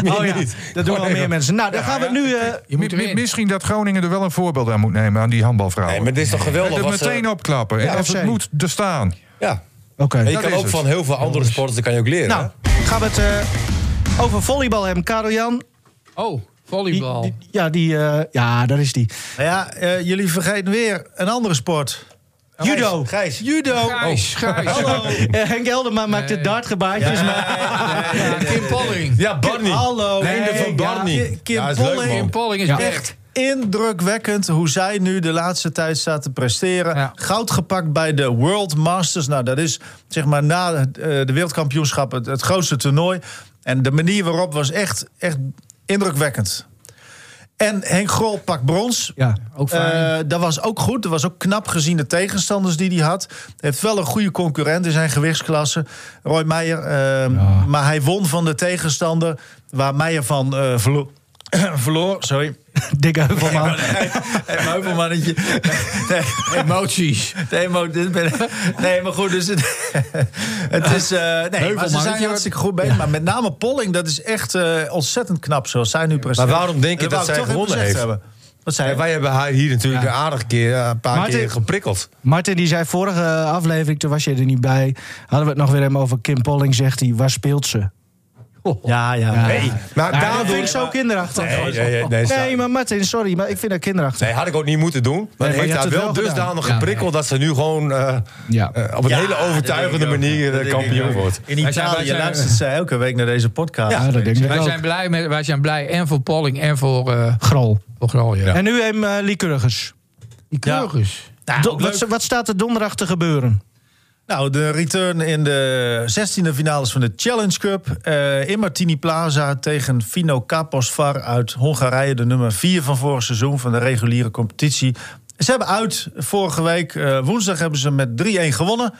Meer
Oh ja,
niet.
dat doen wel
Gewoon
meer
even.
mensen. Nou, daar gaan we het nu... eh,
Je moet
Mi- mi-
erin.
Misschien dat Groningen er wel een voorbeeld aan moet nemen aan die handbalvrouwen.
Nee, maar dit eh, is toch geweldig?
Het
wat ze-
meteen opklappen. en als
FC.
het moet, er staan.
Ja.
Oké.
En je
Dat
kan
is
ook
het.
van heel veel andere sporten dat kan je ook leren.
Nou, gaan we het eh, over volleybal hebben. Karel Jan.
Oh,
die-
volleybal.
die- ja, die, eh, ja, daar is die.
Nou ja, eh, jullie vergeten weer een andere sport.
Oh, Judo.
Gijs.
Judo.
Gijs, Gijs.
*laughs* Eh, Henk Elderman maakt de
Nee.
dartgebaartjes. maar
Ja, Kim Polling.
Ja, Barney.
Hallo.
Nee, de van Barney.
ja, Kim
Ja, is leuk,
Polling.
man.
Kim Polling is
Ja.
echt.
Indrukwekkend hoe zij nu de laatste tijd staat te presteren.
Ja.
Goud gepakt bij de World Masters. Nou, dat is zeg maar na eh, de wereldkampioenschap het, het grootste toernooi. En de manier waarop was echt, echt indrukwekkend. En Henk Grol pakt brons.
Ja,
ook fijn.
Eh, dat was ook goed. Dat was ook knap gezien de tegenstanders die hij had. Hij heeft wel een goede concurrent in zijn gewichtsklasse. Roy Meijer. ehm, Maar hij won van de tegenstander waar Meijer van eh, verlo- *coughs* verloor. Sorry.
Dikke Heuvelman.
*laughs* Hey, Meuvelmannetje. Nee,
Emoties.
nee, maar, dit ben, nee, maar goed, dus het, het is... eh nee, maar ze zijn
Meuvelmannetje.
hartstikke goed bezig. Maar met name Polling, dat is echt eh, ontzettend knap zoals zij nu presteren.
Maar waarom denk je
En
dat zij
wou ik toch even
gewonnen
gezegd
heeft?
hebben. Wat zij
Ja, wij hebben haar hier natuurlijk een aardig keer, eh, een paar
Maarten-
keer geprikkeld.
Martin, die zei vorige aflevering, toen was je er niet bij... hadden we het nog weer even over Kim Polling, zegt hij. Waar speelt ze?
oh.
Ja, ja.
Nee, maar
Ja, dat
daardoor...
vind ik zo kinderachtig.
Nee, nee, nee, nee,
Nee,
sta-
maar Martin, sorry, maar ik vind dat kinderachtig.
nee, had ik ook niet moeten doen. Maar
maar je
heeft
hebt
haar
het
wel
wel gedaan.
dusdanig geprikkeld dat ze nu gewoon eh,
Ja.
eh, op een hele overtuigende manier eh, kampioen wordt.
In
Wij zijn- wij
Italië
zijn-
luistert zij elke week naar deze podcast.
Ja, dat denk ik
Wij
ook.
zijn, blij met, wij zijn blij en voor Polling en voor, eh
Grol.
voor Grol, ja.
En nu hem eh Lycurgus.
die Kurgus.
Do- wat, wat staat er donderdag te gebeuren?
Nou, de return in de 16e finales van de Challenge Cup. eh, in Martini Plaza tegen Fino Kaposvar uit Hongarije. De nummer 4 van vorig seizoen van de reguliere competitie. Ze hebben uit vorige week. eh, woensdag hebben ze met 3-1 gewonnen.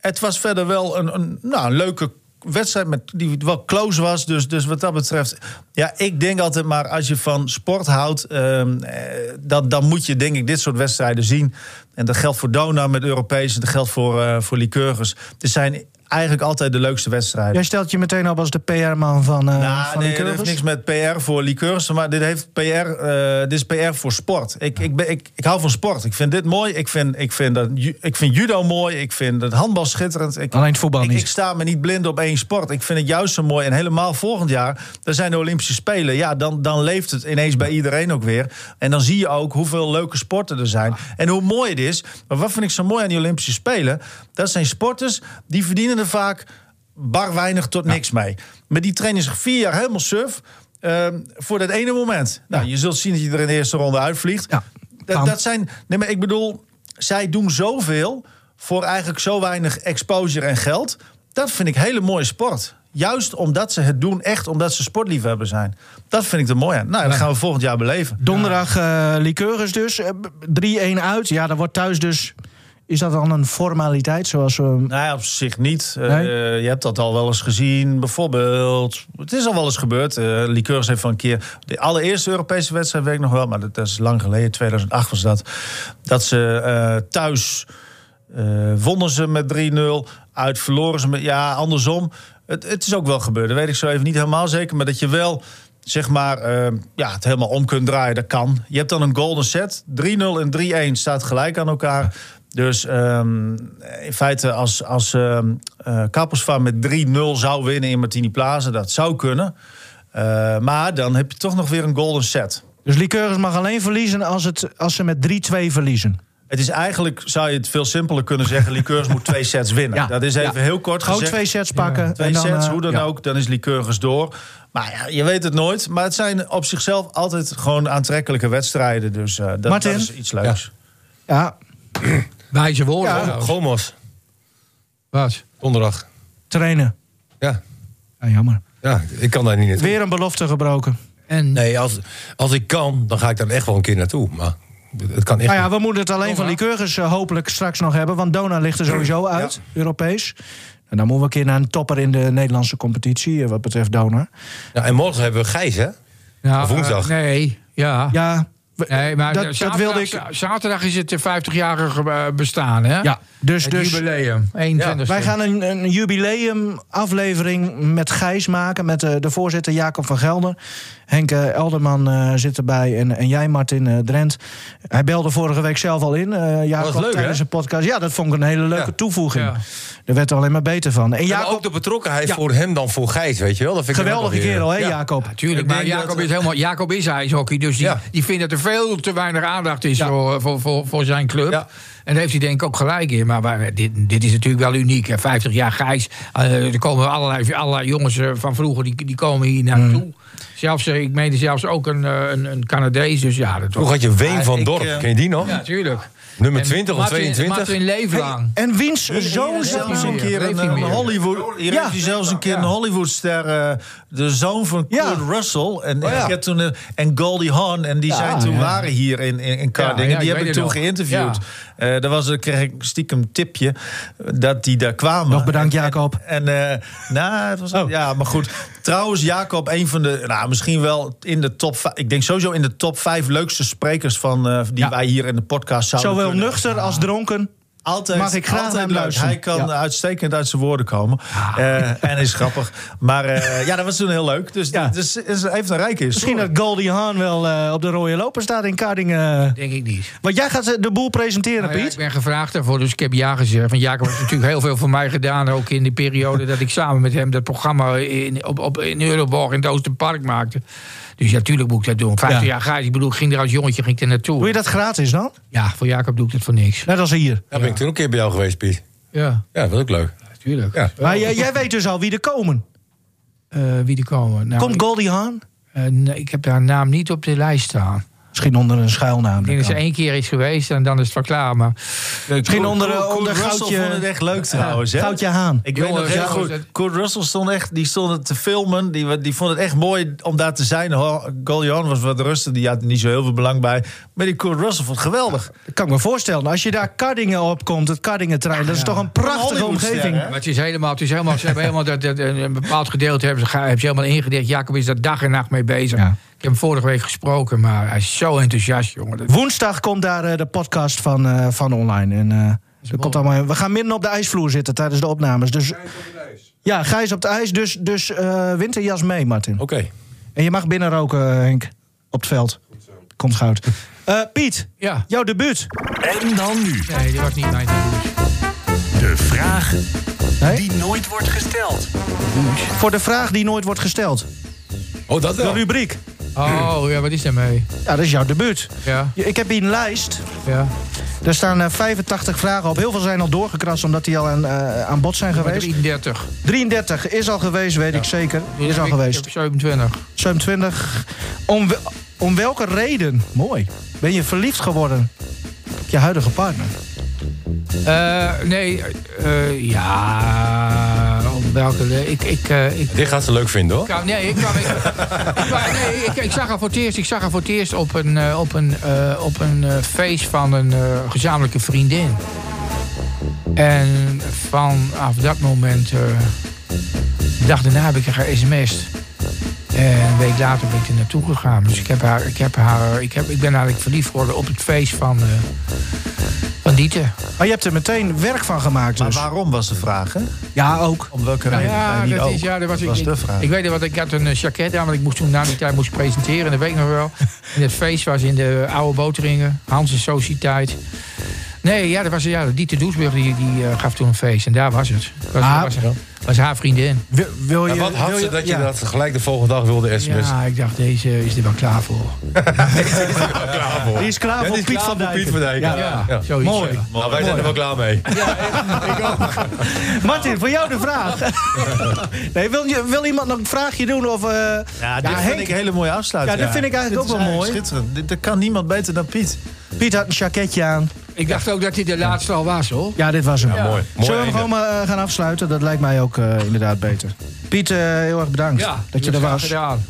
Het was verder wel een, een, nou, een leuke wedstrijd met, die wel close was. Dus, dus wat dat betreft... Ja, ik denk altijd maar als je van sport houdt... ehm, eh, dat, dan moet je denk ik dit soort wedstrijden zien. En dat geldt voor Dona met Europese. Dat geldt voor, eh voor Lycurgus. Het zijn eigenlijk altijd de leukste wedstrijden.
Jij stelt je meteen op als de PR-man van, eh
Nou,
van
nee, dat
Lycurgus.
heeft niks met PR voor liqueurs, maar dit, heeft PR, eh, dit is PR voor sport. Ik, ik, ben, ik, ik hou van sport. Ik vind dit mooi. Ik vind, ik vind, dat, ju- ik vind judo mooi. Ik vind het handbal schitterend. Ik,
Alleen het voetbal
ik,
niet.
Ik sta me niet blind op één sport. Ik vind het juist zo mooi. En helemaal volgend jaar, dan zijn de Olympische Spelen. Ja, dan, dan leeft het ineens bij iedereen ook weer. En dan zie je ook hoeveel leuke sporten er zijn. En hoe mooi het is. Maar wat vind ik zo mooi aan die Olympische Spelen? Dat zijn sporters die verdienen er vaak bar weinig tot niks mee. Maar die trainen zich vier jaar helemaal suf. ehm, voor dat ene moment. Nou, je zult zien dat je er in de eerste ronde uitvliegt.
Ja.
Dat,
Kan.
dat zijn. Nee, maar ik bedoel, zij doen zoveel voor eigenlijk zo weinig exposure en geld. Dat vind ik hele mooie sport. Juist omdat ze het doen, echt omdat ze sportliefhebber zijn. Dat vind ik er mooi aan. Nou, dat gaan we volgend jaar beleven.
Donderdag eh Lycurgus dus. Eh, b- 3-1 uit. Ja, dan wordt thuis dus... Is dat dan een formaliteit zoals we...
Nou, op zich niet. Eh,
Nee?
je hebt dat al wel eens gezien. Bijvoorbeeld, het is al wel eens gebeurd. Eh Liqueurs heeft van een keer. De allereerste Europese wedstrijd weet ik nog wel, maar dat, dat is lang geleden. 2008 was dat. Dat ze eh, thuis eh, wonnen ze met 3-0. Uit verloren ze met. Ja, andersom. Het, het is ook wel gebeurd. Dat weet ik zo even niet helemaal zeker. Maar dat je wel. Zeg maar, eh, ja, het helemaal om kunt draaien, dat kan. Je hebt dan een golden set. 3-0 en 3-1 staat gelijk aan elkaar. Dus ehm, in feite, als, als ehm eh, Kappersvaart met 3-0 zou winnen in Martini Plaza, dat zou kunnen. Eh, maar dan heb je toch nog weer een golden set.
Dus Lycurgus mag alleen verliezen als, het, als ze met 3-2 verliezen.
Het is eigenlijk, zou je het veel simpeler kunnen zeggen, Liqueurs
*laughs*
moet twee sets winnen.
Ja,
dat is even
ja.
heel kort
Gewoon
gezegd.
twee sets pakken.
Twee
en dan,
sets,
eh,
hoe dan
ja.
ook, dan is Lycurgus door. Maar ja, je weet het nooit. Maar het zijn op zichzelf altijd gewoon aantrekkelijke wedstrijden. Dus eh, dat, dat
Martin?
is iets leuks.
Ja,
Wijze woorden. trouwens.
Gomos,
Wat?
donderdag.
trainen.
Ja,
Ja, jammer.
ja, ik kan daar niet naartoe.
Weer een belofte gebroken.
En
Nee, als, als ik kan, dan ga ik daar echt wel een keer naartoe. Maar het kan echt
Nou ja,
niet.
we moeten het alleen van Lycurgus eh, hopelijk straks nog hebben. Want Dona ligt er sowieso uit, Europees. En dan moeten we een keer naar een topper in de Nederlandse competitie, eh, wat betreft Dona.
Ja, en morgen hebben we Gijs, hè?
nou,
woensdag.
eh, nee, ja.
Ja, we-
Nee, maar
dat, dat
zaterdag,
wilde ik.
za- Zaterdag is het eh, 50-jarige eh, bestaan, hè?
Ja, dus,
Het
dus
jubileum. 21
wij gaan een, een jubileumaflevering met Gijs maken. Met eh, de voorzitter Jacob van Gelder. Henk eh, Elderman eh, zit erbij. En, en jij, Martin eh, Drent. Hij belde vorige week zelf al in. eh Jacob
Oh, leuk,
tijdens
hè?
een podcast. Ja, dat vond ik een hele leuke
Ja.
toevoeging.
Ja.
Daar werd er alleen maar beter van. En
Ja, maar
Jacob,
ook de betrokkenheid
Ja.
voor hem dan voor Gijs, weet je wel? Dat vind ik
geweldige
dan ook
kerel, hè,
weer- Ja.
Jacob?
Tuurlijk, maar Jacob, is helemaal, Jacob is ijshockey, dus die,
eh, Ja.
die vindt dat er veel te weinig aandacht is voor, eh, voor, voor, voor zijn club.
Ja.
En daar heeft hij denk ik ook gelijk in. Maar, wij- dit, dit is natuurlijk wel uniek. Hè. 50 jaar Gijs, Eh, er komen allerlei, allerlei jongens eh, van vroeger, die, die komen
Mm.
hier naartoe. Zelfs, eh, ik meende zelfs ook een, eh, een, een Canadees, dus ja, dat was...
Vroeger had je Ween van
ik,
Dorp,
eh,
ken je die nog?
Ja, tuurlijk.
Nummer
En
20 of
Martin-
22?
Martin Leeflang.
En wiens
Zoon
zoon
heeft
zelfs
hij
een
meer.
keer
Leeft
een,
hij
een
meer.
Hollywood. Hier
Ja.
heeft hij zelfs een keer een Hollywoodster. eh, de zoon van
Ja.
Kurt Russell. En,
ja.
ik heb toen, een- en Goldie Hawn. En die zijn toen waren hier in, in, in Carding.
Ja, ja,
en
ik
die heb ik
weet
toen
het nog.
geïnterviewd. Eh daar was, daar kreeg ik stiekem een tipje. eh, Dat die daar kwamen.
Nog bedankt,
En- en-
Jacob.
En, eh, nou, het was, ja, maar goed. Trouwens, Jacob, een van de, nou, misschien wel in de top, vij- ik denk sowieso in de top vijf leukste sprekers van eh, die wij hier in de podcast zouden
Zowel
kunnen.
nuchter als
Ah.
dronken.
Altijd,
Mag ik graag
altijd
naar hem
leuk.
luisteren.
Hij kan
Ja. Ah.
uitstekend uit zijn woorden komen. Eh, en is grappig. Maar eh, ja, dat was toen heel leuk. Dus,
Ja.
dus, is- heeft een rijke is.
Misschien dat Goldie Haan wel eh, op de rode loper staat in Kardingen.
Denk ik niet.
Want jij gaat eh, de boel presenteren,
Nou ja,
Piet.
ik ben gevraagd daarvoor, dus ik heb ja gezegd. Want Jacob heeft *laughs* natuurlijk heel veel voor mij gedaan. Ook in de periode dat ik samen met hem dat programma in, op, op, in Euroborg in het Oosterpark maakte. Dus ja, natuurlijk moet ik dat doen. 50
Ja.
jaar ga ik. Ik bedoel, ik ging er als jongetje ging ik er naartoe.
Doe je dat gratis dan?
Ja, voor Jacob doe ik dat voor niks.
Net als hier.
Oh.
Ja, ben ik toen ook een keer bij jou geweest, Piet.
Ja,
Ja, dat was ook leuk.
natuurlijk.
Ja.
Maar jij, jij weet dus al wie er komen.
Eh, wie die komen? Nou,
Komt
ik,
Goldie Haan?
eh, nee, ik heb haar naam niet op de lijst staan.
Misschien onder een schuilnaam.
Ik denk dat ze één keer is geweest en dan is het wel klaar. Maar
Misschien onder, eh,
Kurt
onder
Russell vond het
goudje,
echt leuk trouwens. hè?
goudje Haan.
Ik
Jongens,
weet nog heel
ja,
goed.
goed.
Kurt Russell stond echt, die stond het te filmen. Die, wa- die vond het echt mooi om daar te zijn. Ho- Golion was wat rustig. Die had er niet zo heel veel belang bij. Maar die Kurt Russell vond het geweldig.
eh,
Dat kan ik me voorstellen. Als je daar Kardingen opkomt, het
Ah,
Kardingen-trein, dat is toch een prachtige
Hollywoodster,
omgeving.
hè?
Maar het is helemaal, het is helemaal ze hebben helemaal dat, dat, een een bepaald gedeelte hebben ze, ge- hebben ze helemaal ingedeeld. Jacob is daar dag en nacht mee bezig.
Ja.
Ik heb hem vorige week gesproken, maar hij is zo enthousiast, jongen. Dat-
Woensdag komt daar eh, de podcast van, eh, van online. En, eh, dat komt allemaal, we gaan midden op de ijsvloer zitten tijdens de opnames. Dus, ja, Gijs op het ijs. Dus, dus eh, winterjas mee, Martin.
Oké.
En je mag binnen roken, eh, Henk. Op het veld. Komt
*laughs*
goud. Eh, Piet,
Ja,
jouw debuut.
En dan nu
nee, dat was niet mijn debuut.
de vraag
Nee?
die nooit wordt gesteld.
Voor de vraag die nooit wordt gesteld.
Oh, dat
De
wel.
rubriek.
Oh, ja, wat is daarmee?
Ja, dat is jouw debuut.
Ja,
Ik heb hier een lijst.
ja.
Daar staan eh, 85 vragen op. Heel veel zijn al doorgekrast omdat die al aan, eh, aan bod zijn
Nummer
geweest.
33.
33 is al geweest, weet ik zeker. Is al
Ik-
geweest.
ik- 27.
27. Om, we- om welke reden, mooi, ben je verliefd geworden op je huidige partner?
Eh, nee, eh, eh, ja. Om Welke, eh, ik, ik, eh, ik,
Dit gaat ze leuk vinden hoor.
kan- nee, ik, kan, ik, ik wou- nee ik, ik zag haar voor het eerst. Ik zag haar voor het eerst op een, eh, op een, eh, op een eh, feest van een eh, gezamenlijke vriendin. En vanaf dat moment, eh, de dag daarna heb ik haar sms'd. En een week later ben ik er naartoe gegaan. Dus ik, heb haar, ik, heb haar, ik, heb, ik ben eigenlijk verliefd geworden op het feest van, eh van Dieter.
Maar je hebt er meteen werk van gemaakt
Maar
dus.
waarom was de vraag, hè?
Ja, ook.
Om welke reden?
Nou Ja,
Nee, niet
dat
ook.
is, ja, dat was, ik,
de
ik-
vraag.
Ik weet nog wat, ik had een eh, jacket aan, want ik moest toen na die tijd moest presenteren, dat weet ik nog wel. En het feest was in de oude Boteringen, Hans en Sociëteit. Nee, ja, dat was ja, Dieter Doesburg die, die eh, gaf toen een feest en daar was het. Was,
Ah.
was, was haar vriendin.
Wil, wil je,
En wat
wil
had ze dat je
ja.
dat gelijk de volgende dag wilde sms?
Ja, ik dacht, deze is er wel klaar voor.
Klaar voor.
Die is klaar
Ja,
voor
die is
Piet
klaar
van
voor
Dijk.
Piet van Dijk. Ja.
Ja,
Ja.
zoiets.
Mooi.
ja.
Nou, wij zijn er wel klaar mee.
Martin, voor jou de
*laughs*
vraag. nee, wil, je- wil iemand nog een vraagje doen? Of, eh,
Ja, dit vind
Henk-
ik een hele mooie afsluiting.
Ja, dit vind ik eigenlijk
Dit
ook
is
wel
eigenlijk Schitterend. Dit, dat kan niemand beter dan Piet.
Piet had een jacketje aan.
Ik dacht ook dat dit de laatste al was, hoor.
Ja, dit was hem.
Mooi. Mooi
Zullen we hem
einde.
gewoon maar eh, gaan afsluiten? Dat lijkt mij ook eh, inderdaad beter. Piet, eh, heel erg bedankt dat je er
graag
was.
Gedaan.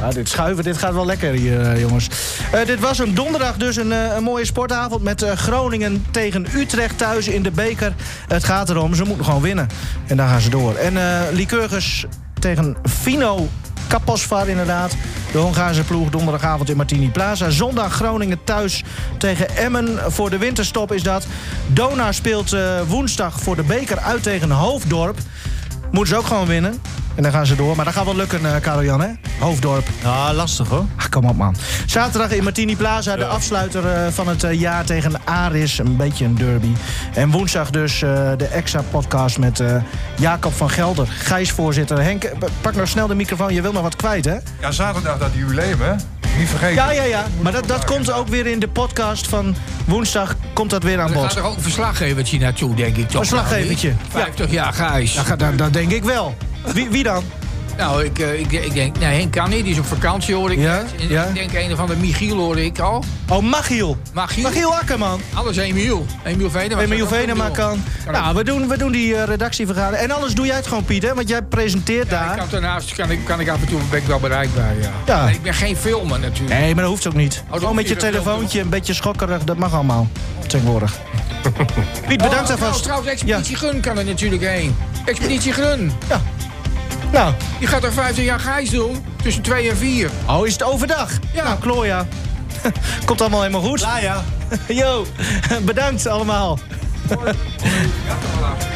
Ja, dit schuiven, dit gaat wel lekker hier, eh, jongens. Eh, dit was een donderdag dus een, eh, een mooie sportavond... met eh, Groningen tegen Utrecht thuis in de beker. Het gaat erom, ze moeten gewoon winnen. En daar gaan ze door. En eh Lycurgus tegen Fino Kaposvar inderdaad. De Hongaarse ploeg donderdagavond in Martini Plaza. Zondag Groningen thuis tegen Emmen. Voor de winterstop is dat. Dona speelt eh, woensdag voor de beker uit tegen Hoofddorp. Moeten ze ook gewoon winnen. En dan gaan ze door. Maar dat gaat wel lukken, eh Karel-Jan, hè? Hoofddorp.
Ah, lastig hoor.
Ach, kom op, man. Zaterdag in Martini Plaza, de afsluiter eh, van het eh, jaar tegen Aris. Een beetje een derby. En woensdag dus eh, de extra podcast met eh, Jacob van Gelder, Gijs-voorzitter. Henk, eh, pak nog snel de microfoon. Je wil nog wat kwijt, hè?
Ja, zaterdag dat jubileum, hè? Niet vergeten.
Ja, ja, ja. Maar dat, dat komt ook weer in de podcast van woensdag. Komt dat weer aan
Er gaat
bod.
er ook een verslaggevertje naartoe, denk ik toch?
Verslaggevertje.
Nou, niet? 50 jaar Gijs.
Ja, dat, dat denk ik wel. Wie, wie dan?
Nou, ik, eh, ik, ik denk, nee, Henk kan niet. Die is op vakantie, hoor ik.
Ja,
net. En
ja.
Ik denk een of andere Michiel, hoorde ik al.
Oh, Machiel.
Magiel.
Machiel Akkerman.
Alles Emiel. Emiel Venema.
Emiel Venema
Emiel.
kan. Nou, we doen, we doen die eh, redactievergadering. En anders doe jij het gewoon, Piet, hè? Want jij presenteert
Ik
daar.
kan daarnaast kan ik, kan ik af en toe ben ik wel bereikbaar, ja.
Ja.
Maar Ik ben geen filmer, natuurlijk.
Nee, maar dat hoeft ook niet.
Oh, dat
Gewoon met je
hoeft niet, dat
telefoontje, een beetje schokkerig, dat mag allemaal.
*laughs*
Tegenwoordig. Piet, Eh, bedankt
Oh,
alvast.
Trouwens, Expeditie Gun kan er natuurlijk heen. Expeditie Gun.
Nou,
Die gaat er 50 jaar Gijs doen. Tussen 2 en 4.
oh, is het overdag?
Ja.
Nou, Kloja. *laughs* Komt allemaal *laughs* helemaal goed.
Ah ja.
Yo, bedankt allemaal.
Ja, toch wel aan.